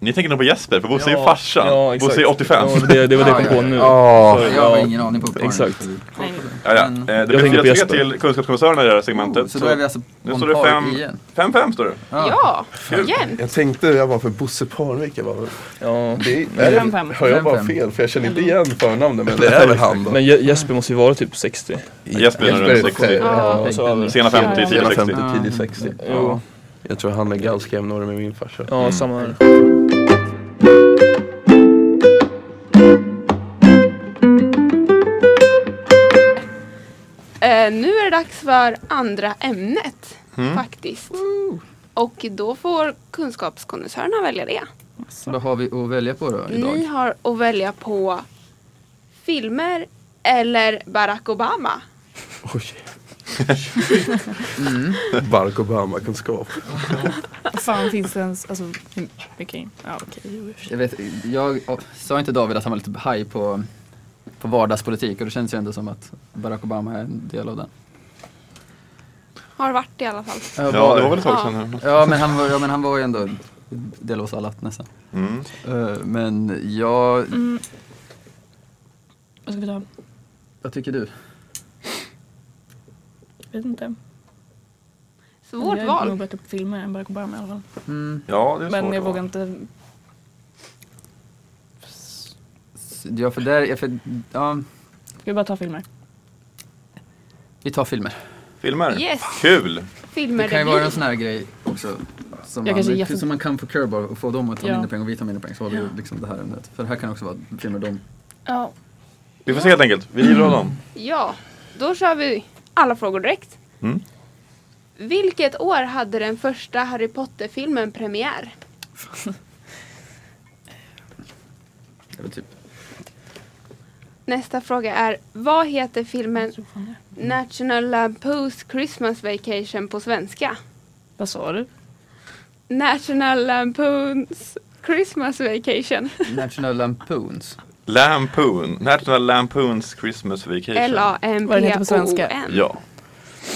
H: Ni tänker nog på Jesper, för Bosse är ju
F: Ja.
H: farsan.
F: Ja, exakt.
H: Bosse är 85.
F: Ja, det, det var det jag kom på nu.
G: Ja.
F: Så,
E: Jag har
F: ja.
E: ingen aning på barn.
F: Exakt.
H: Ja, ja. Eh,
E: Men-
H: Det
F: Jag
H: blir
F: tänker på
H: 4-3
F: Jesper.
H: till Kunskapskommissarerna i det här segmentet.
E: Så då är vi
H: Så
E: alltså
H: nu
E: on
H: står det
E: par
H: fem-
E: igen.
H: 5-5 står det.
B: Ja,
H: Kul.
B: jämnt.
G: Jag tänkte, jag var för Bosse Parnevik, jag bara,
F: Ja.
G: det är, är det,
C: Fem, fem.
G: har jag bara
E: Fem, fem.
G: fel? För jag känner inte igen förnamnet men det är väl han då?
F: Men Je- Jesper måste ju vara typ 60.
H: Jesper är nog
G: Jesper
H: runt
G: är
H: 60.
B: Ja.
F: Ja, så över.
H: Sena 50, tidiga
G: 50,
H: 60.
G: tidigt 60.
F: Jo.
G: Jag tror han är ganska jämnårig med min farsa.
F: Ja, samma här.
B: Eh, nu är det dags för andra ämnet faktiskt. Och då får kunskapskonnässörerna välja det.
E: Vad har vi att välja på då
B: Ni
E: idag?
B: har att välja på filmer eller Barack Obama.
G: Oj.
F: Mm.
G: Barack Obama-kunskap.
I: Fan finns det ens, alltså, hur mycket? Ja okej.
E: Jag, vet, jag sa inte David att han var lite haj på, på vardagspolitik och det känns ju ändå som att Barack Obama är en del av den.
B: Har varit i alla fall.
H: Ja, det var väl ett tag sedan.
E: Ja men han var, ja, men han var ju ändå en del av oss alla nästan.
H: Mm.
E: Eh, men jag,
I: Mm.
C: Vad ska vi ta?
E: vad tycker du?
C: Jag vet inte.
B: Svårt
C: jag Jag är nog
B: val.
C: bättre på filmer än Barack Obama i alla fall.
E: Mm,
H: Ja, det är svårt.
I: Men jag
H: att-
I: vågar inte,
E: s- ja för där, ja, för, ja,
I: ska vi bara ta filmer?
E: vi tar filmer.
H: Filmer.
B: Yes.
H: Kul!
B: Filmer
E: Det
B: det
E: kan ju vara
B: blir.
E: en sån här grej också. Som,
I: Jag kanske är
E: man,
I: jätte-
E: som man kan få curbar och få dem att ta
I: Ja.
E: mindre poäng och vi tar mindre poäng så har vi ju liksom det här ämnet. För det här kan också vara filmer de
I: Ja.
H: Vi får se helt enkelt. Vi river av dem.
B: Mm. Ja, då kör vi alla frågor direkt.
H: Mm.
B: Vilket år hade den första Harry Potter-filmen premiär?
E: eller typ
B: Nästa fråga är, vad heter filmen National Lampoon's Christmas Vacation på svenska?
I: Vad sa du?
B: National Lampoon's Christmas Vacation.
E: National Lampoons.
H: Lampoon. National Lampoons Christmas Vacation.
I: Vad den heter på svenska.
B: L-A-M-P-O-O-N.
H: Ja.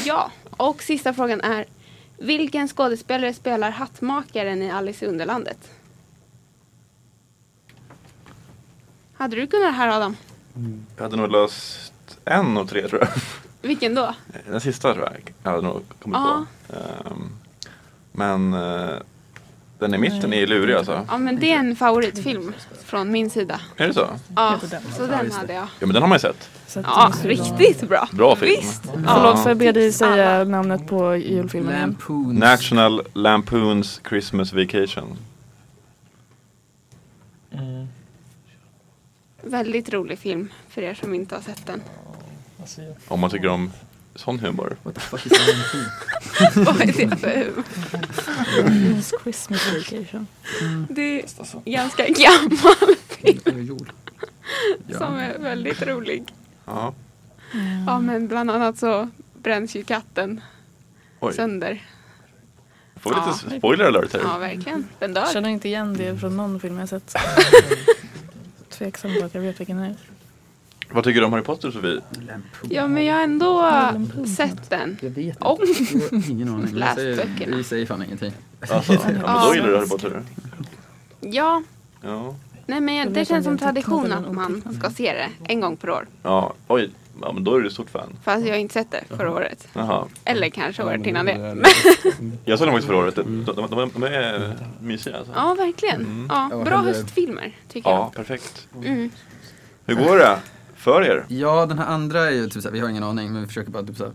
B: ja. Och sista frågan är, vilken skådespelare spelar hattmakaren i Alice i Underlandet? Hade du kunnat det här Adam?
H: Jag hade nog löst en och tre tror jag.
B: Vilken då?
H: Den sista tror jag. Jag hade nog kommit
B: Ja.
H: på. Ehm, men eh, den i mitten är lurig alltså.
B: Ja men det är en favoritfilm från min sida.
H: Är det så?
B: Ja, så den hade jag.
H: Ja men den har man ju sett.
I: Så att-
B: Ja, riktigt bra.
H: Bra film.
B: Visst.
I: Förlåt får jag be dig säga namnet på julfilmen igen?
E: Lampoons.
H: National Lampoons Christmas Vacation.
B: Väldigt rolig film för er som inte har sett den.
H: Om man tycker om sån humor.
E: What the fuck is a Lampoon?
B: Vad är det för humor?
I: It's Christmas Vacation.
B: Det är ganska gammal film
E: Det är jord. Ja.
B: som är väldigt rolig.
H: Ja.
B: Ja men bland annat så bränns ju katten
H: Oj.
B: sönder.
H: Får vi lite
B: Ja.
H: spoiler alert
B: Ja
H: här.
B: verkligen. Den
I: Jag
B: dör.
I: känner inte igen det från någon film jag sett. Tveksam på att jag vet vilken det är.
H: Vad tycker du om Harry Potter Sofie?
E: Lampoon.
B: Ja men jag har ändå sett den.
E: Jag vet inte.
B: Om.
E: Jag har ingen aning. Vi
B: Läs
E: säger,
B: böckerna.
E: vi säger fan ingenting.
H: Alltså, ja, men då gillar du Harry Potter.
B: Ja,
H: Ja.
B: nej men jag, det känns som tradition att man ska se det en gång per år.
H: ja. Oj. Ja men då är du stort fan.
B: Fast jag har inte sett det förra året.
H: Jaha.
B: Eller kanske året innan det.
H: Jag såg dem faktiskt förra året. De, de, de, de är mysiga alltså.
B: Ja verkligen. Ja,
E: Ja,
B: bra
E: hellre-
B: höstfilmer tycker
H: Ja,
B: jag.
H: perfekt.
B: Mm.
H: Hur går det? för er?
E: Ja, den här andra är ju typ såhär, vi har ingen aning men vi försöker bara typ såhär.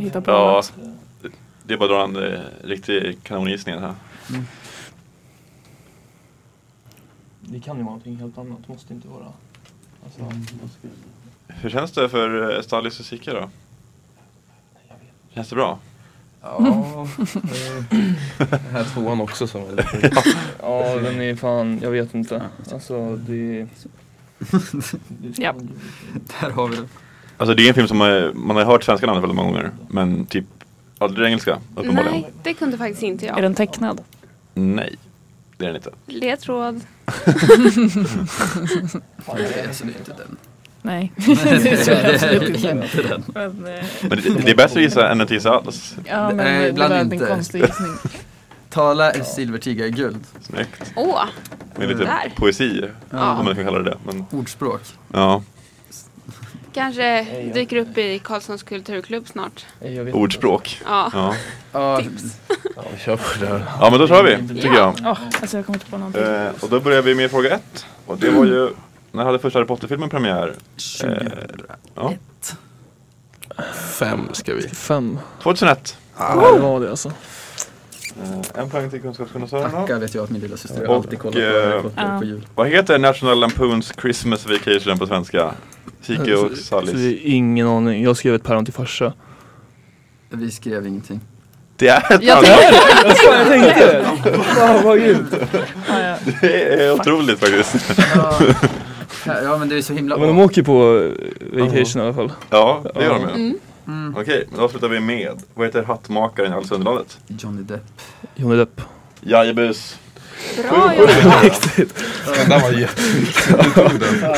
I: Hitta på
H: Ja,
I: något.
H: det är bara att dra en eh, riktig kanongissning här.
F: Det kan ju vara någonting helt annat, det måste inte vara... Alltså,
H: Hur känns det för eh, Stallis och Sicka då? Känns det bra?
G: Ja, eh, den här tvåan också som var lite...
F: ja, den är fan, jag vet inte. Alltså det...
I: Ja.
E: Där har vi det.
H: Alltså det är en film som eh, man har hört svenska namnet väldigt många gånger, men typ aldrig engelska uppenbarligen.
B: Nej, det kunde faktiskt inte
I: Är
B: jag.
I: den tecknad?
H: Nej, det är den inte.
B: Ledtråd.
E: Nej, alltså det är inte den.
I: Nej.
E: Nej,
I: Det tror jag absolut
E: det är
I: inte.
E: inte den.
I: Men, eh,
H: Men det, det är bättre att gissa än att gissa alls.
I: ja, men
E: Nej,
I: det
E: ibland
I: var
E: inte.
I: en konstig gissning.
E: Tala är silvertiga i guld.
H: Snyggt.
B: Åh,
H: Med lite
B: Där.
H: poesi,
B: Ja.
H: om man kan kalla det det. Men,
E: Ordspråk.
H: ja,
B: kanske dyker upp i Karlssons kulturklubb snart.
F: Nej, jag vet inte.
H: ordspråk.
B: Ja.
H: Ja.
E: Ja,
G: Ja, vi kör på det här.
H: ja, men då kör vi, tycker jag.
I: Åh, alltså jag kommer inte på någonting.
H: Eh, och då börjar vi med fråga ett. Och det var ju, när hade första Harry Potter-filmen premiär?
E: 20.
H: Ja,
G: Fem ska vi.
F: Fem.
H: 2001.
F: Ja, det var det alltså.
H: Eh, en poäng till kunskapskonnoissörerna.
E: Tackar vet jag att min lilla syster
H: Och,
E: alltid kollar på
H: eh,
E: Harry Potter på jul.
H: Vad heter National Lampoons Christmas Vacation på svenska? Kiki
E: Alltså,
H: och
F: Så
H: Sallis.
F: det är ingen aning. Jag skrev ett päron till farsa.
E: Vi skrev ingenting.
H: Det är ett
I: Jag
H: annat.
F: Jag tänkte det! Fan vad grymt!
I: Ja, ja.
H: Det är otroligt faktiskt.
E: Ja, ja men det är så himla...
F: Men de åker på eh, vacation i alla fall.
H: Ja, det gör de ju.
B: Mm.
E: Mm.
H: Okej, men då avslutar vi med, vad heter hattmakaren i Alsunderlandet?
E: Johnny Depp.
F: Johnny Depp.
H: Jajebus.
B: Bra jobbat.
G: Den där var jätteviktig. Du tog den.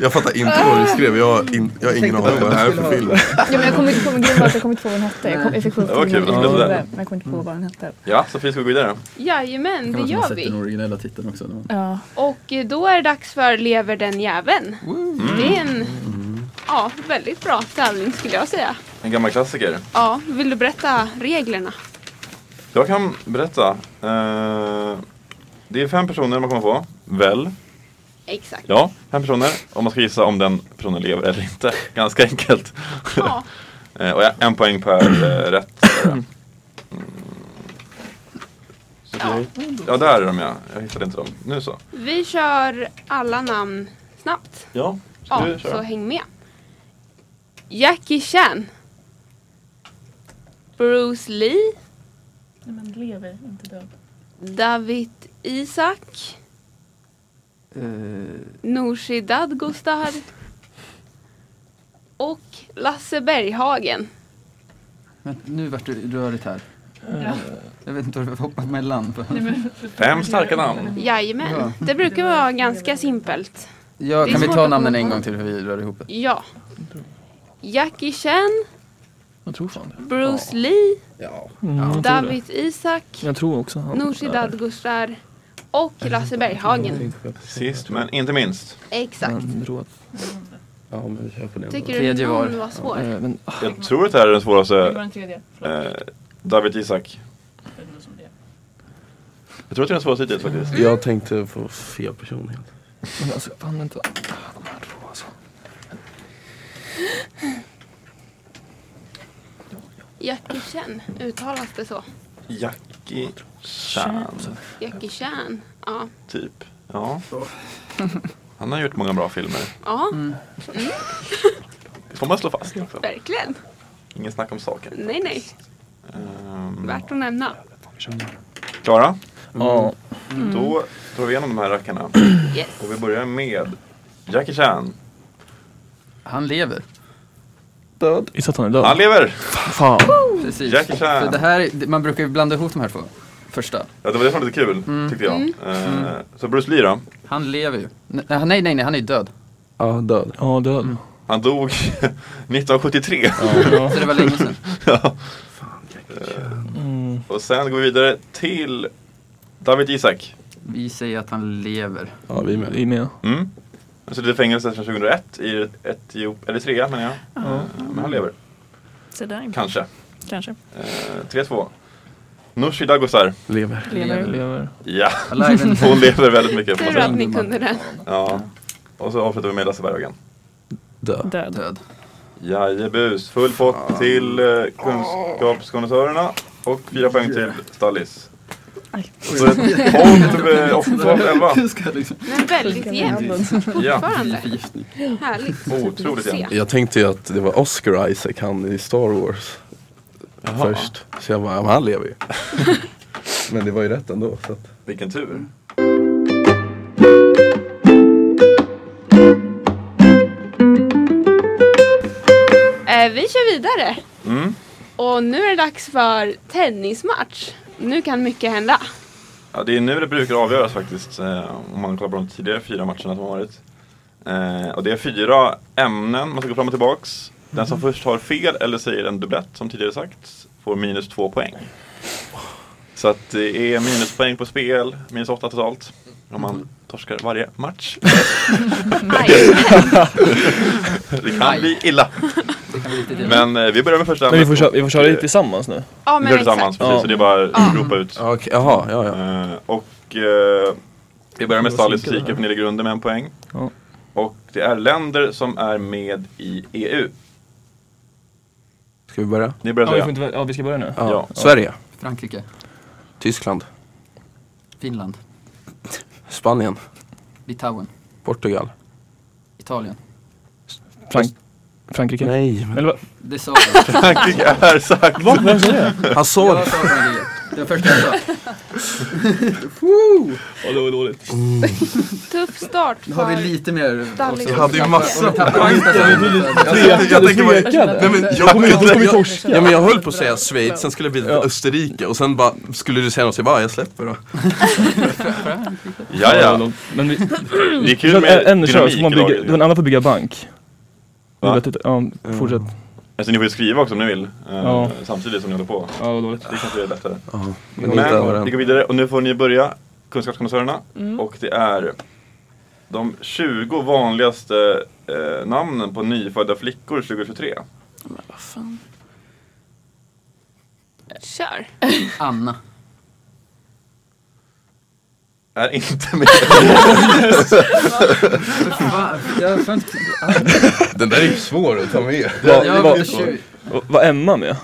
G: Jag fattar inte vad du skrev. Jag har, in, jag har ingen aning vad det här är för film.
I: Ja, men jag kommer inte på, grejen var att jag kommer inte på vad den hette. Jag, kom, jag fick
H: Det var
I: sjunga
H: kul Mm. att du läste den.
I: men jag kommer inte på vad den hette.
H: Ja, Sofie ska vi gå vidare.
B: Jajamän, det
E: Kan man ha
B: gör
E: sett den
B: vi.
E: originella titeln också.
I: Ja.
B: Och eh, då är det dags för Lever den jäveln. Det är en ja, väldigt bra tävling skulle jag säga.
H: En gammal klassiker.
B: Ja, vill du berätta reglerna?
H: Jag kan berätta. Eh, det är fem personer man kommer få. Väl?
B: Exakt.
H: Ja, fem personer. Och man ska gissa om den personen lever eller inte. Ganska enkelt.
B: Ja.
H: Eh, och jag- en poäng per eh, rätt. Mm. Sofie? Ja, där är de ja. Jag hittade inte dem. Nu så.
B: Vi kör alla namn snabbt.
H: Ja, ska
B: Ja,
H: du
B: så
H: köra?
B: häng med. Jackie Chan. Bruce Lee.
I: Nej men lever, inte död.
B: David Isak.
E: Eh,
B: Nooshi Dadgostar. Och Lasse Berghagen.
E: Men nu vart det rörigt här. Jag vet inte vad du hoppat mellan. på.
H: Fem starka namn.
B: Jajamän.
E: Ja.
B: Det brukar vara ganska simpelt.
E: Ja,
B: Det är
E: kan vi
B: svårt
E: ta
B: att
E: namnen en
B: komma
E: gång till för vi rör ihop det?
B: Ja. Jackie Chan,
F: Jag tror fan det.
B: Bruce Lee,
E: Ja.
F: Mm, jag tror det.
B: David Isak,
F: Jag tror också han.
B: Nooshi Dadgostar och Lasse Berghagen.
H: Sist men inte minst.
B: Exakt.
F: Jag tror att-
G: Ja, men vi kör på den. då.
B: Tycker du
E: Tredje var.
B: någon var svår?
F: eh, men-
H: Jag tror att det här är den
I: Det var
H: svåraste.
I: den tredje.
H: Eh, David Isak. Jag tror att det är den svåraste hittills faktiskt.
G: Jag tänkte på fel person helt.
F: Men alltså, fan vänta. Ah, De här två alltså.
B: Jackie Chan, uttalas det så?
H: Jackie Chan,
B: Jackie Chan. Ja.
H: typ. Ja. Han har gjort många bra filmer.
B: Ja,
H: Det får man slå fast. Också.
B: Mm. verkligen.
H: Ingen snack om saken.
B: Nej, nej.
H: Ehm,
B: Värt att nämna.
H: Klara,
E: Mm.
F: Ja,
H: då drar vi igenom de här rackarna.
B: Yes.
H: Och vi börjar med Jackie Chan.
E: Han lever.
F: död. Gissa att han är död.
H: Han lever!
G: Ah.
F: Fan.
E: Precis.
H: Jackie Chan.
E: För det här, är- det- man brukar ju blanda ihop de här två. Första.
H: Ja, det var det som var lite kul, tyckte jag. Ehm, Så Bruce Lee då?
E: Han lever ju. Nej, nej, nej, nej han är ju död.
G: Ja, död.
F: Ja, död.
G: Mm.
H: Han dog 1973.
F: Ja.
E: Så det var länge sedan.
F: Mm.
H: Eh, Och sen går vi vidare till David Isak.
E: Vi säger att han lever.
G: Ja, vi är med.
F: Vi är med.
H: Mm. Han sitter i fängelse sedan 2001 i Etiop, Eritrea menar jag. Ehm, Men han lever,
I: Så där.
H: kanske.
I: Kanske.
H: Eh, 3-2. Nooshi Dagostar.
G: Lever.
I: Lever.
F: Lever.
H: Ja,
E: Alive and
H: hon lever väldigt mycket. får man
B: Tur att
H: säga.
B: ni kunde den.
H: Ja. Och så avslutar vi med Lasse Berghagen.
G: Dö.
I: Död.
E: Död.
H: Jajebus, full pott till eh, kunskapskonnässörerna och fyra poäng till Stallis.
I: Aj.
H: Så 12, eh, och totalt 11.
E: Hur ska jag liksom?
B: Men väldigt jämnt
H: Ja,
B: fortfarande.
E: Förgiftning.
B: Härligt.
H: otroligt jämnt.
G: Jag tänkte ju att det var Oscar Isaac, han i Star Wars. Först. Så jag bara, ja, men han lever ju. men det var ju rätt ändå. Så att.
H: Vilken tur.
B: Eh, vi kör vidare.
H: Mm.
B: Och nu är det dags för tennismatch. Nu kan mycket hända.
H: Ja, det är nu det brukar avgöras faktiskt, eh, om man kollar på de tidigare fyra matcherna som har varit. Eh, och det är fyra ämnen, man ska gå fram och tillbaks. Den
E: Mhm.
H: som först har fel eller säger en dubblett, som tidigare sagt, får minus två poäng. Så att det är minuspoäng på spel, minus åtta totalt, om
E: Mm.
H: man torskar varje match. Mm.
B: Aj.
H: Det kan bli illa.
E: Det kan bli lite det.
H: Men eh, vi börjar med första
F: Men vi
H: ämnet.
F: får köra, vi får köra det tillsammans nu.
B: Ja,
H: Vi
B: men
H: kör tillsammans,
B: exakt.
H: precis,
F: Ja.
H: så det är bara att ropa ut.
G: Ja, okej, Jaha, ja ja.
H: Eh, och eh, vi börjar med
D: Det var
H: Stalins
D: synkade
H: fysik på nere i grunden med en poäng.
F: Ja.
H: Och det är länder som är med i EU.
G: Ska vi börja?
H: Ni börjar
F: Ja, vi, får
H: säga.
F: inte, väl- ja, vi ska börja nu.
G: Ja.
H: Ja.
G: Sverige,
E: Frankrike,
G: Tyskland,
E: Finland,
G: Spanien,
E: Litauen,
G: Portugal.
E: Italien.
F: Frank- Frankrike.
G: Nej, men...
F: Eller vad?
E: Det sa jag.
H: Frankrike är sagt.
G: Han såg
E: Jag sa Frankrike. Det var första jag sa.
F: Ja, det var dåligt.
B: Tuff start
E: Nu har vi
B: för
E: lite mer
B: Dallas.
G: Jag hade ju massa
E: poäng.
G: Jag, jag tänker bara, nej men jag, jag, jag,
I: vi
G: jag,
I: torska.
G: ja, men jag höll på att säga Schweiz, sen skulle det bli Österrike och sen bara skulle du säga något så jag bara, jag släpper då.
H: Ja, ja.
F: Men vi,
H: Det är
F: vi
H: kul
F: kör
H: med
F: en kör, så får man
H: dynamik
F: bygga,
H: idag.
F: den andra får bygga bank.
H: Va?
F: Jag vet inte, Ja, fortsätt.
H: Alltså ni får ju skriva också om ni vill. eh,
F: Ja.
H: Samtidigt som ni håller på.
F: Ja, vad dåligt.
H: Det kanske är lättare.
G: Men inte
H: Men
G: över
H: vi går
G: den.
H: vidare och nu får ni börja. Kunskapskonnässörerna. Och det är de 20 vanligaste eh, namnen på nyfödda flickor 2023.
I: Vad fan.
B: Kör.
E: Anna.
H: Är inte med.
E: Va? Jag får inte...
G: den där är ju svår att ta med.
F: Vad-
E: Jag
F: vad-
E: var tjugo.
F: vad- Vad Emma med?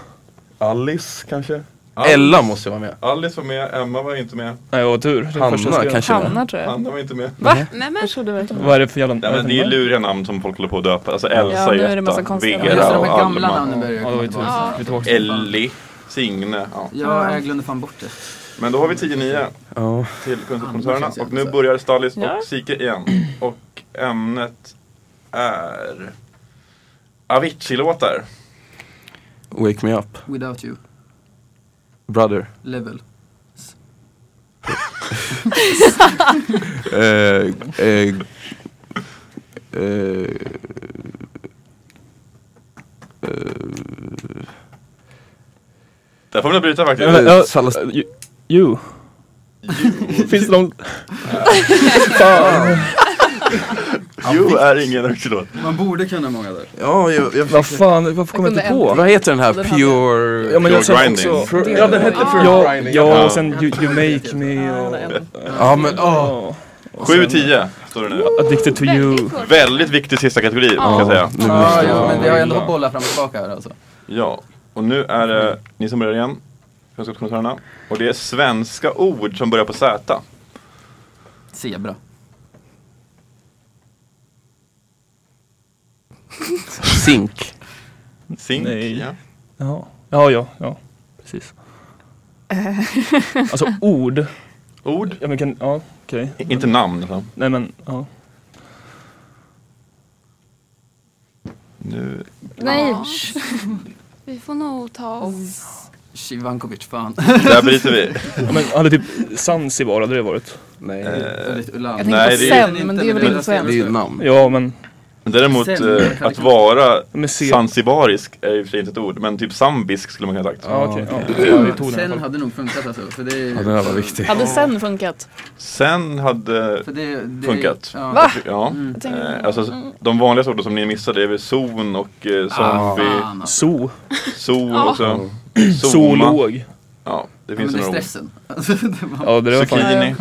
G: Alice kanske? Ella måste vara med.
H: Alice var med, Emma var inte med,
F: Nej, vad tur. Det är första jag
G: Hanna
F: skrev.
G: kanske med.
I: Hanna tror jag.
H: Anna var inte med.
B: Va? Nej, men
I: Jag trodde verkligen
F: Vad är det för jävla...
H: Nej men det är luriga namn som folk håller på att döpa. Alltså Elsa,
I: Ja, nu är det massa
H: Gösta,
I: konstiga
E: Just det,
H: Vera
E: de
H: och
E: här gamla
H: Alma.
E: namnen börjar
F: Ja, det var
E: komma
F: ju tur.
E: tillbaka.
F: Vi är tillbaka.
H: Ellie, Signe. Ja.
E: Ja, jag glömde fan bort det.
H: Men då har vi 10-9
G: Ja.
H: till Kunskapskoncernerna.
E: känns
H: Och nu
E: jättesvårt.
H: börjar Stallis
I: Ja.
H: och Sike igen. Och ämnet är Avicii-låtar.
G: Wake me up,
E: Without you.
G: brother.
E: Level.
G: Eh, eh, eh,
H: Där får vi nog bryta faktiskt.
F: Ja, ja,
G: Sallas-
F: ju- ju. Finns det någon... Fan.
H: Jo är ingen Avicii-låt.
E: Man borde kunna många där.
G: ja, jag, jag
F: Vad fan, varför kommer jag inte
I: kunde
F: på?
G: Vad heter den här?
I: Den hade-
G: Pure...
F: Ja, men jag
H: Pure
F: sa
H: Grinding.
F: också...
G: ja, den hette Pure
F: Ja,
G: Grinding.
F: ja,
H: Ja.
F: och sen you, you make me och...
G: Ja, men
F: Ja.
G: åh.
F: Och sen
H: 7-10 står det nu.
F: Addicted to you.
B: väldigt kort.
H: Väldigt viktig sista kategori kan jag säga.
G: Nu
E: Ja,
G: måste
E: ja, men vi har ändå
F: Ja.
E: fått bollar fram och tillbaka här alltså.
H: Ja, och nu är det ni som börjar igen, Kunskapskommentärerna. Och det är svenska ord som börjar på Z.
E: Zebra.
G: Zink.
H: Zink,
F: Nej.
H: ja.
F: Ja, ja, ja, ja. precis. Alltså ord.
H: Ord,
F: Ja, men kan, ja, okej.
H: inte namn. Alltså.
F: Nej men, ja.
H: Nu,
I: Nej.
B: Vi får nog ta oss.
E: Sivankovic, fan.
H: där bryter vi.
F: ja men hade typ Zanzibar hade det varit.
G: Nej.
H: Eh,
I: Jag
E: Jag
I: tänkte
H: Nej,
I: på
H: det är-
I: sen, men det är väl inte
G: Det är
I: sen.
G: ju namn.
F: Ja men,
H: Däremot
E: Sen-
H: eh, att vara
F: men se.
H: zanzibarisk är ju i och för sig inte ett ord, men typ zambisk skulle man kunna ha sagt.
F: Ja okej, ja. Vi tog den i alla
E: Sen
F: fall.
E: hade nog funkat alltså. För det,
G: Ja, den här var viktig.
I: Hade sen funkat?
H: Sen hade,
E: för det, det
H: Funkat.
E: Ja. Mm.
I: Va?
H: ja,
I: Jag tänkte-
H: eh, alltså de vanligaste orden som ni missade är väl zon och
E: Ah,
H: eh, zombie,
E: Fan, alltså.
F: Zoo.
H: sol också. Zoma.
F: Zoolog.
H: Ja, Det
E: men
H: finns
E: det är
H: en ord.
E: stressen. Alltså, det- man-
F: Ja, det där var fan...
H: Zucchini.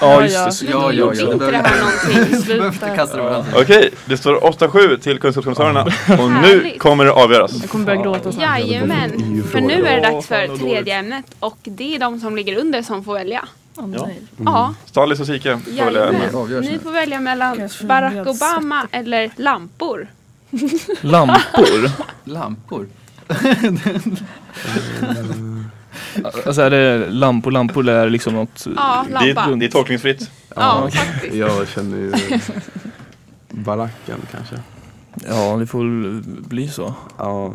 F: Ja, just det. zucchini
E: Ja, ja,
F: också.
E: ja.
B: Inte det här någonting.
E: Vi behöver inte
I: Sluta.
E: kasta det varandra.
H: Okej, det står 8-7 till kunskapskommissarierna. Och nu
B: Härligt.
H: kommer det avgöras.
I: Jag kommer börja gråta snart.
B: Jajamän, för nu är det
F: Åh,
B: dags
F: fan,
B: för
F: vad dåligt.
B: tredje ämnet och det är de som ligger under som får välja.
I: Åh nej.
B: Ja,
H: Stallis och Sike får väl
B: Jajamän.
H: ämne.
E: Det avgörs
B: ni
E: nu.
B: får välja mellan
I: Kanske
B: Barack
I: jag
B: Obama eller lampor.
F: Lampor?
E: Lampor.
F: Alltså är det lampor, lampor eller är det liksom något...
B: Ja,
H: Det är, det
B: lampa.
H: är tolkningsfritt.
B: Ja, faktiskt.
G: Jag känner ju baracken kanske.
F: Ja, det får väl bli så. Eh,
G: Ja,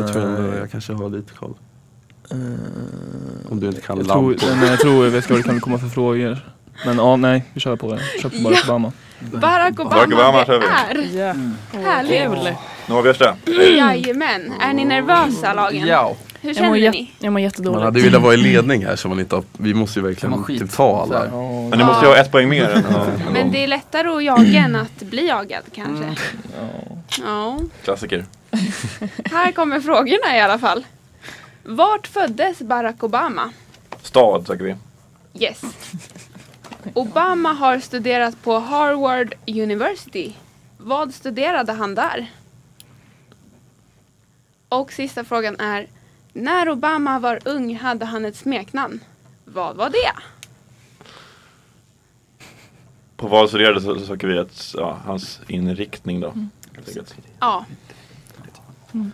G: jag tror ändå jag kanske har lite koll. Om du inte kan
F: Jag tror,
G: lampor.
F: nej, men jag tror jag vet vad det kan komma för frågor. Men ja, nej, vi kör på det. Kör på Barack
B: Ja.
F: Obama.
B: Barack Obama,
H: Barack Obama
B: det
H: kör vi.
B: är
I: Ja.
B: härligt.
I: Kul.
H: Nu avgörs det.
B: Jajamän, är ni nervösa lagen?
E: Ja.
B: Hur
I: Jag mår,
B: känner
I: jä-
B: ni?
I: jag mår
G: Man
I: jättedåligt.
G: hade ju velat vara i ledning här så man inte har, vi måste ju
E: Det var
G: verkligen
E: skit.
G: typ ta
E: Så här.
G: alla.
H: Men ni måste ju ha ett poäng mer än än
B: Men
H: dem.
B: det är lättare att jaga än att bli jagad kanske. Ja.
H: Klassiker.
B: Här kommer frågorna i alla fall. Vart föddes Barack Obama?
H: Stad söker vi.
B: Yes. Obama har studerat på Harvard University. Vad studerade han där? Och sista frågan är. När Obama var ung hade han ett smeknamn. Vad var det?
H: På vad så det så så söker vi ett, ja, hans inriktning då.
B: Mm.
H: helt enkelt.
B: Ja.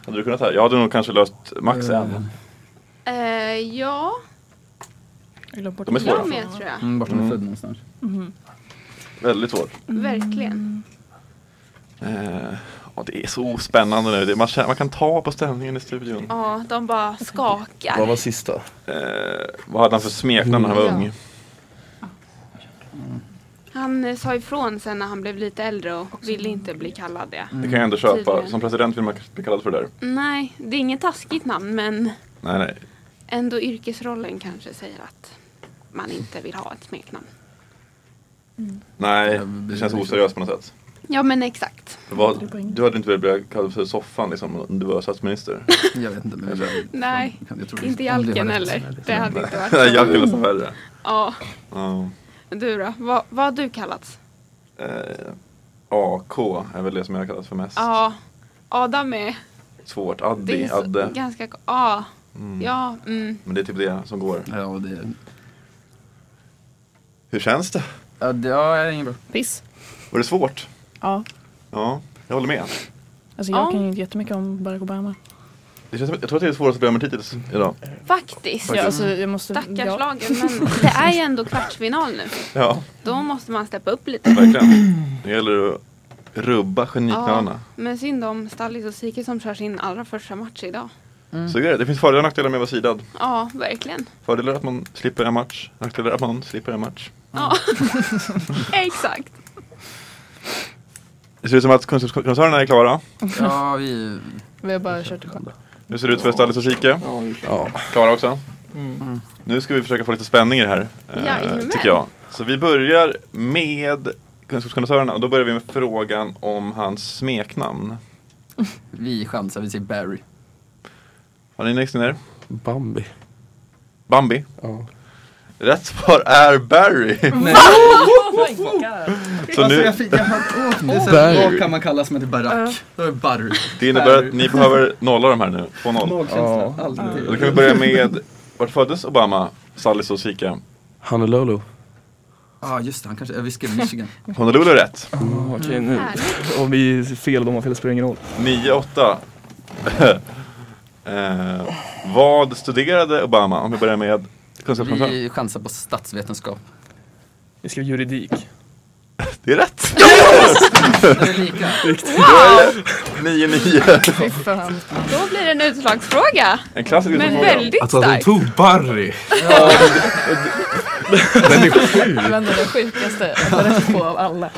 H: Hade du kunnat här? Jag hade nog kanske löst max en.
B: Eh, ja,
I: Jag glömde bort
H: De är
I: det.
H: svåra.
B: jag med tror jag.
E: Mm, vart han är född någonstans.
H: Väldigt svårt.
B: Verkligen.
H: Eh, ja, det är så spännande nu. Det, man, känner, man kan ta på stämningen i studion.
B: Ja, de bara skakar.
G: Vad var sista?
H: Eh, vad hade han för smeknamn när han var
B: Ja.
H: ung?
B: Han eh, sa ifrån sen när han blev lite äldre och ville inte bli kallad det.
H: Det kan jag ändå köpa.
B: Tydligen.
H: Som president vill man kanske bli kallad för det där.
B: Nej, det är inget taskigt namn men
H: Nej, nej.
B: ändå yrkesrollen kanske säger att man inte vill ha ett smeknamn.
H: Nej, det känns oseriöst på något sätt.
B: Ja men exakt.
H: Vad, du hade inte velat bli kallad för soffan liksom, om du var statsminister.
E: Jag vet inte. Men jag,
B: Nej,
E: jag
B: inte
E: tror Mm. om det var
B: Jalken
E: rätt.
B: heller. Det hade inte varit
H: jag
B: så.
H: vill nästan värre.
B: Ja,
H: Ja.
B: du då? Vad, vad har du kallats?
H: Eh, AK är väl det som jag har kallat för mest.
B: Ja, Adam är...
H: Svårt.
B: Det
H: Addi,
B: är så,
H: Adde.
B: ganska... Ja,
H: Mm.
B: ja, mm.
H: Men det är typ det som går.
E: Ja, och det,
H: Hur känns det?
E: ja, det ja, det är inget bra.
I: Piss.
H: Var det svårt?
I: Ja.
H: Ja, jag håller med.
I: Alltså jag
B: Ja.
I: kan ju inte jättemycket om Barack Obama.
H: Det känns som, jag tror att det är det svåraste programmet hittills idag.
B: Faktiskt.
I: Ja, alltså, jag måste,
B: Stackars
I: ja.
B: lagen, men det är ju ändå kvartsfinal nu.
H: Ja,
B: Då måste man steppa upp lite.
H: verkligen. Det gäller att rubba geniknölarna.
B: men synd om Stallis och Sike som kör sin allra första match idag. Mm.
H: Så det, är det. det finns fördelar och nackdelar med att vara sidad.
B: Ja, verkligen.
H: Fördelar att man slipper en match, nackdelar att man slipper en match.
B: Ja, exakt.
H: Det ser ut som att kunskapskoncernerna är klara.
E: Ja, vi...
I: Vi har bara kört igång.
H: Nu ser det ut för Stallis och Sike.
G: Ja.
H: Klara också. Nu ska vi försöka få lite spänning i det här. eh,
B: Jajamän.
H: tycker jag. Så vi börjar med kunskapskondensörerna och då börjar vi med frågan om hans smeknamn.
E: Vi chansar, vi säger Barry.
H: Har ni nästa ner?
G: Bambi.
H: Bambi.
G: Ja.
H: Rätt svar är Barry. Så nu,
E: fick... Alltså, Jag, åh, det är så
G: Barry.
E: här, vad kan man kalla som heter Barack? Då är Barry.
H: det innebär att
E: Barry.
H: ni behöver nolla de här nu. 2-0.
E: Magkänsla.
H: Då
E: Aldrig.
H: kan vi börja med, vart föddes Obama? Sallis och Sika.
G: Honolulu.
E: Ja, ah, just det. Han kanske... ja, Vi skrev Michigan.
H: Honolulu är rätt.
F: Oh, Okej, nu.
B: Härligt.
F: Om vi är fel, de har fel, spelar ingen roll.
H: 9-8. eh, vad studerade Obama? Om vi börjar med kunskapskoncernen.
E: Vi chansar på statsvetenskap.
F: Vi skrev juridik.
H: Det är rätt.
E: Det är lika.
H: 9-9.
I: Fy fan.
B: Då blir det en utslagsfråga.
H: En klassisk
B: Men
H: utmaning.
B: väldigt
G: Alltså att hon
B: stark.
G: tog Barry.
I: Bland det sjukaste jag har rätt på av alla.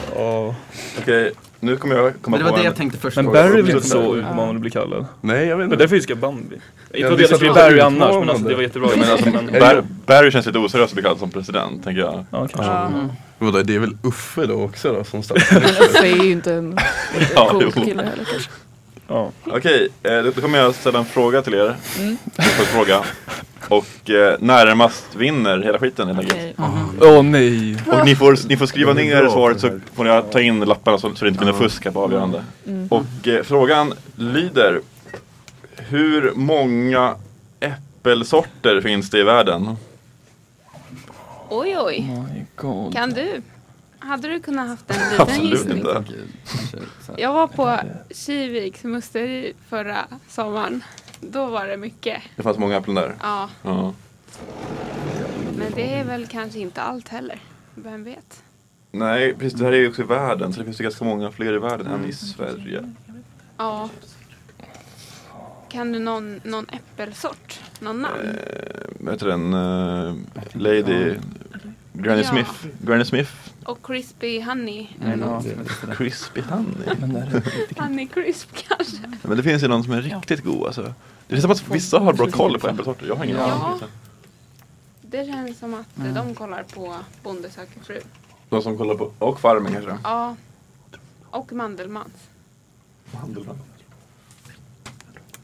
H: Okej, nu kommer jag komma
E: Men det var
H: på
E: det
H: en.
E: jag tänkte först.
F: Men
E: på.
F: Barry är väl
H: Ja.
F: inte så utmanande blir kallad?
G: Nej jag vet
F: Men
G: inte.
F: därför vi skrev Bambi. Inte för
G: Ja,
F: att
G: det
F: jag
G: är
F: tänkte
G: så
F: Barry
G: utmanande.
F: annars, men alltså det var jättebra.
H: Men alltså,
F: Men-
H: Bar- Barry känns lite oseriöst att bli kallad som president, tänker jag.
F: Ja, kanske.
G: Vadå, det är väl Uffe då också då som statsminister?
I: Men Uffe är ju inte en
H: Ja,
I: cool
H: jo.
I: kille heller kanske.
F: Ja.
H: Okej, eh, då kommer jag ställa en fråga till er. Mm. Fråga. Och eh, närmast vinner hela skiten helt enkelt.
C: Okej.
G: Åh nej!
H: Och ni får, ni får skriva
G: Det är
H: ner
G: bra
H: svaret
G: för
H: så
G: det här.
H: får ni ta in lapparna så, så det inte blir något fusk på avgörande.
B: Mm.
H: Och eh, frågan lyder Hur många äppelsorter finns det i världen?
B: Oj, oj.
E: My god.
B: Kan du? Hade du kunnat haft en liten
H: Absolut
B: gissning?
H: inte.
E: Gud, kanske så här.
B: Jag var på Kiviks musteri förra sommaren. Då var det mycket.
H: Det fanns många äpplen där.
B: Ja,
H: Ja.
B: men det är väl kanske inte allt heller. Vem vet?
H: Nej, precis. Det här är ju också i världen så det finns ju ganska många fler i världen än
B: Mm.
H: i Sverige.
B: Ja. Kan du någon, någon äppelsort? Någon namn?
H: Vad heter den? Eh, Lady Granny
B: Ja.
H: Smith. Granny Smith.
B: Och crispy honey?
E: Nej,
B: eller
E: ja,
B: något.
H: Crispy honey.
E: men där är
B: Honey crisp kanske?
H: Men det finns ju någon som är riktigt god alltså. Det är som att vissa har bra koll på äppelsorter. Jag har ingen
B: Ja.
H: aning.
B: Det känns som att
E: Mm.
B: eh, de kollar på Bonde söker fru.
H: De som kollar på, och Farmen kanske.
B: Ja. Och Mandelmans.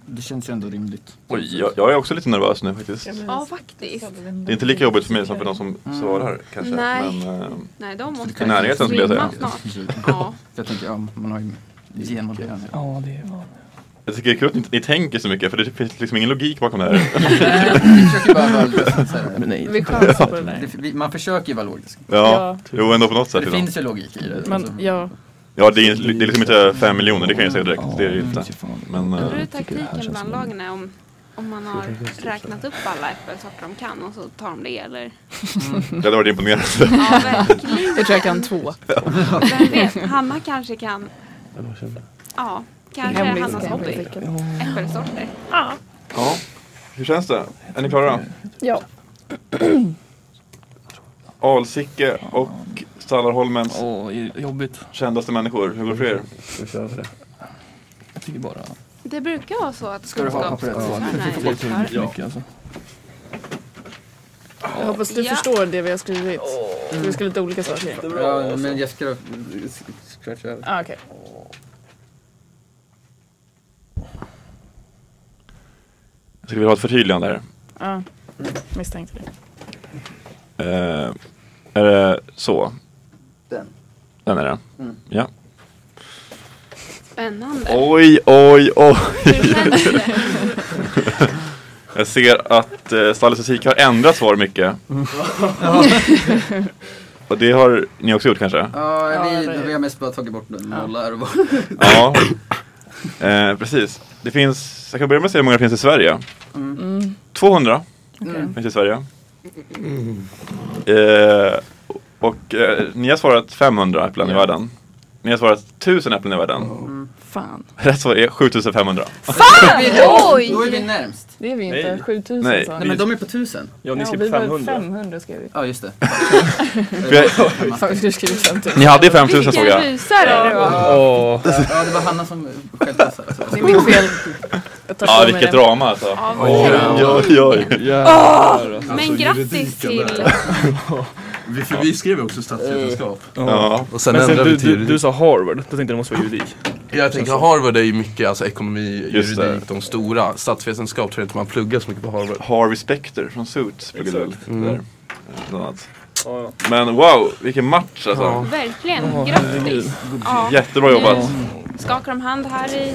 E: Det känns ju ändå rimligt.
H: Oj, jag, jag är också lite nervös nu faktiskt.
B: Ja, faktiskt.
H: Det är inte lika jobbigt för mig som för de som
C: Mm.
H: svarar kanske.
B: Nej.
H: Men, eh,
B: Nej, de måste
H: I närheten skulle jag säga.
B: rymma snart. Ja.
E: Jag tänker, ja, man har ju genmodellen.
C: Ja, det är ja.
H: jag tycker det är kul att ni, ni tänker så mycket för det finns liksom ingen logik bakom det här.
E: Vi försöker bara vara lite så här-
C: Men nej. Vi chansar på det
E: det,
C: där.
E: vi- man försöker ju vara logisk.
H: Ja, jo ändå på något
E: Så
H: sätt.
E: det
H: liksom.
E: finns ju logik i det.
I: Men
E: alltså.
I: ja,
H: Ja, det är, det är liksom inte fem miljoner, det kan jag säga direkt. Det är det inte.
C: Mm.
H: Men eh,
B: Undrar hur taktiken bland lagen är om, om man har räknat upp alla äppelsorter de kan och så tar de det eller?
H: det hade varit imponerande.
B: Ja, verkligen.
I: jag tror jag kan två.
B: Vem vet, Hanna kanske kan, ja, kanske är
I: Hemlig-
B: Hannas hobby. Äppelsorter.
H: Ja, hur känns det? Är ni klara?
I: Ja.
H: Alsike och Stallarholmens
C: Åh, det är jobbigt.
H: kändaste människor, hur går det för er?
C: Jag tycker bara
B: Det brukar vara så att
E: Ska du ha pappret?
B: kunskapsstjärna är
E: Ja.
B: utför.
C: ja. mycket alltså.
I: Jag hoppas du
B: Ja.
I: förstår det vi har skrivit. Vi ska lite olika saker.
E: Ja, men jag ska scratcha över.
I: Ah, okej.
H: Jag skulle vilja ha ett förtydligande här.
I: Ja, misstänkte det.
H: Eh, är det så?
E: Den.
H: Den är det? Ja.
B: Spännande.
H: Oj, oj, oj.
B: Hur känns det?
H: Jag ser att eh, Stalles musik har ändrat svar mycket. Och det har ni också gjort kanske?
E: Ja,
I: Ja,
E: vi,
I: det är-
E: vi har mest bara tagit bort nollar och bara...
H: Ja. Eh, precis. Det finns, jag kan börja med att säga hur många det finns i Sverige. 200 finns i Sverige. Eh, och eh, ni har svarat 500 äpplen i världen. Ni har svarat 1000 äpplen i världen.
I: Fan.
H: Rätt svar är 7500.
B: Oj!
E: Då är vi närmst.
I: Det är vi
F: Nej.
I: inte. 7000
H: Nej.
I: sa
E: Nej men de är på tusen.
F: Ja, ni typ
I: Ja,
F: skrev
I: vi var
F: 500.
I: 500 skrev vi.
E: Ja, just det.
H: För jag,
I: Fan, vi skulle skrivit 5000.
H: ni hade ju 5000 såg
B: Vilken
H: jag.
B: rysare det var.
F: Åh,
E: Ja, det var Hanna som självpassade. så.
I: Det är mitt fel. Jag tar
H: Ja,
I: på mig
H: vilket
I: den.
H: drama alltså.
B: Ja,
H: Oj, oj, oj.
B: Men grattis
G: juridiken
B: till...
G: där. Vi, för vi skrev ju också statsvetenskap.
H: Ja.
G: Och sen
F: Men sen
G: ändrade
F: du,
G: vi till
F: du,
G: juridik.
F: du sa Harvard, då tänkte jag det måste vara juridik.
G: Jag tänker Harvard är ju mycket alltså, ekonomi,
H: Just det.
G: juridik, de stora. Statsvetenskap tror jag inte man pluggar så mycket på Harvard.
H: Harvey Specter från Suits pluggade väl
F: Exakt.
G: Mm.
H: där. eh, Bland annat.
F: Ja, ja.
H: Men wow, vilken match alltså.
B: Verkligen, grattis. Ja. Mm.
H: Jättebra jobbat.
B: Skakar de hand här i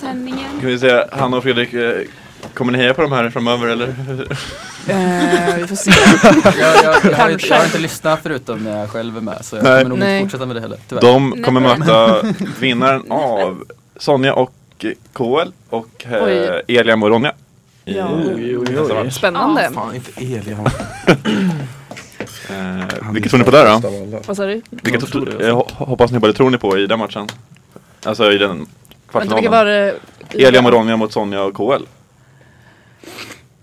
B: sändningen?
H: Kan vi säga Hanna och Fredrik, eh, kommer ni heja på de här framöver eller?
I: Eh, vi får se.
E: Jag, jag, jag, har inte, jag har inte lyssnat förutom när jag själv är med så jag
H: Nej.
E: kommer nog inte
I: Nej.
E: fortsätta med det heller. Tyvärr.
H: De kommer möta vinnaren av Sonja och eh, KL och eh, Elian och Ronja. I,
I: Ja.
F: Oj, oj,
H: nästa
F: oj.
H: match.
I: Spännande.
G: Fan, inte Elian.
H: Eh, vilka tror ni på där då?
I: Vad sa du?
H: Vilka
F: Jag tror
H: tro-
F: det.
H: eh, ho- hoppas ni båda tror ni på i den matchen? Alltså i den
I: Vänta, vilka var
H: kvartsfinalen?
I: det?
H: Elian och Ronja mot Sonja och KL.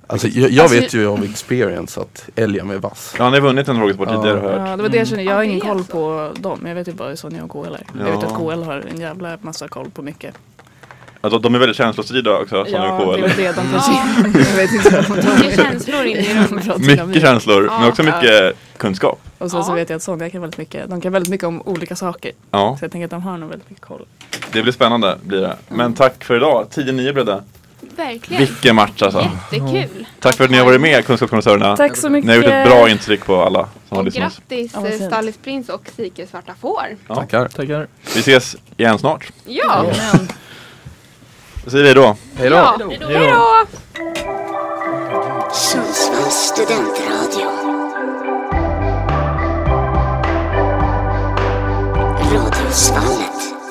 G: Alltså, jag, jag
I: Alltså,
G: vet ju av experience att Elian är vass.
H: Ja, han har vunnit en frågesport
G: Ja.
H: tidigare har jag hört.
I: Ja, det var det jag kände. Jag har
B: Ja,
I: ingen
B: det är
I: koll
B: så.
I: på dem. Jag vet ju bara hur Sonja och KL är. Jag vet
H: Ja.
I: att KL har en jävla massa koll på mycket.
H: Alltså, de är väldigt känslostyrda också, Sonja och
I: det
H: KL.
I: var det de kanske...
B: Ja,
I: Jag vet inte vad de
B: mycket känslor in i rummet.
I: pratar om.
H: Mycket känslor, men också
I: Ja.
H: mycket kunskap.
I: Och sen så
B: Ja.
I: vet jag att Sonja kan väldigt mycket. De kan väldigt mycket om olika saker.
H: Ja,
I: Så jag tänker att de har nog väldigt mycket koll. Mm.
H: det blir spännande blir det. Men tack för idag, 10-9 blev det.
B: Verkligen.
H: Vilken match alltså.
B: Jättekul.
H: Tack för att ni har varit med Kunskapskommissörerna.
I: Tack så mycket.
H: Ni har gjort ett bra intryck på alla som har
B: Och
H: lyssnat.
B: grattis
I: Ja, vad
B: eh,
I: fint.
B: Stallis Prins och Sike Svarta Får.
H: Ja.
G: Tackar.
C: Tackar.
H: Vi ses igen snart.
B: Ja.
H: Säg hej då.
G: Hej då.
B: ja. Hej då.
A: Sundsvalls studentradio. Radhusvallet.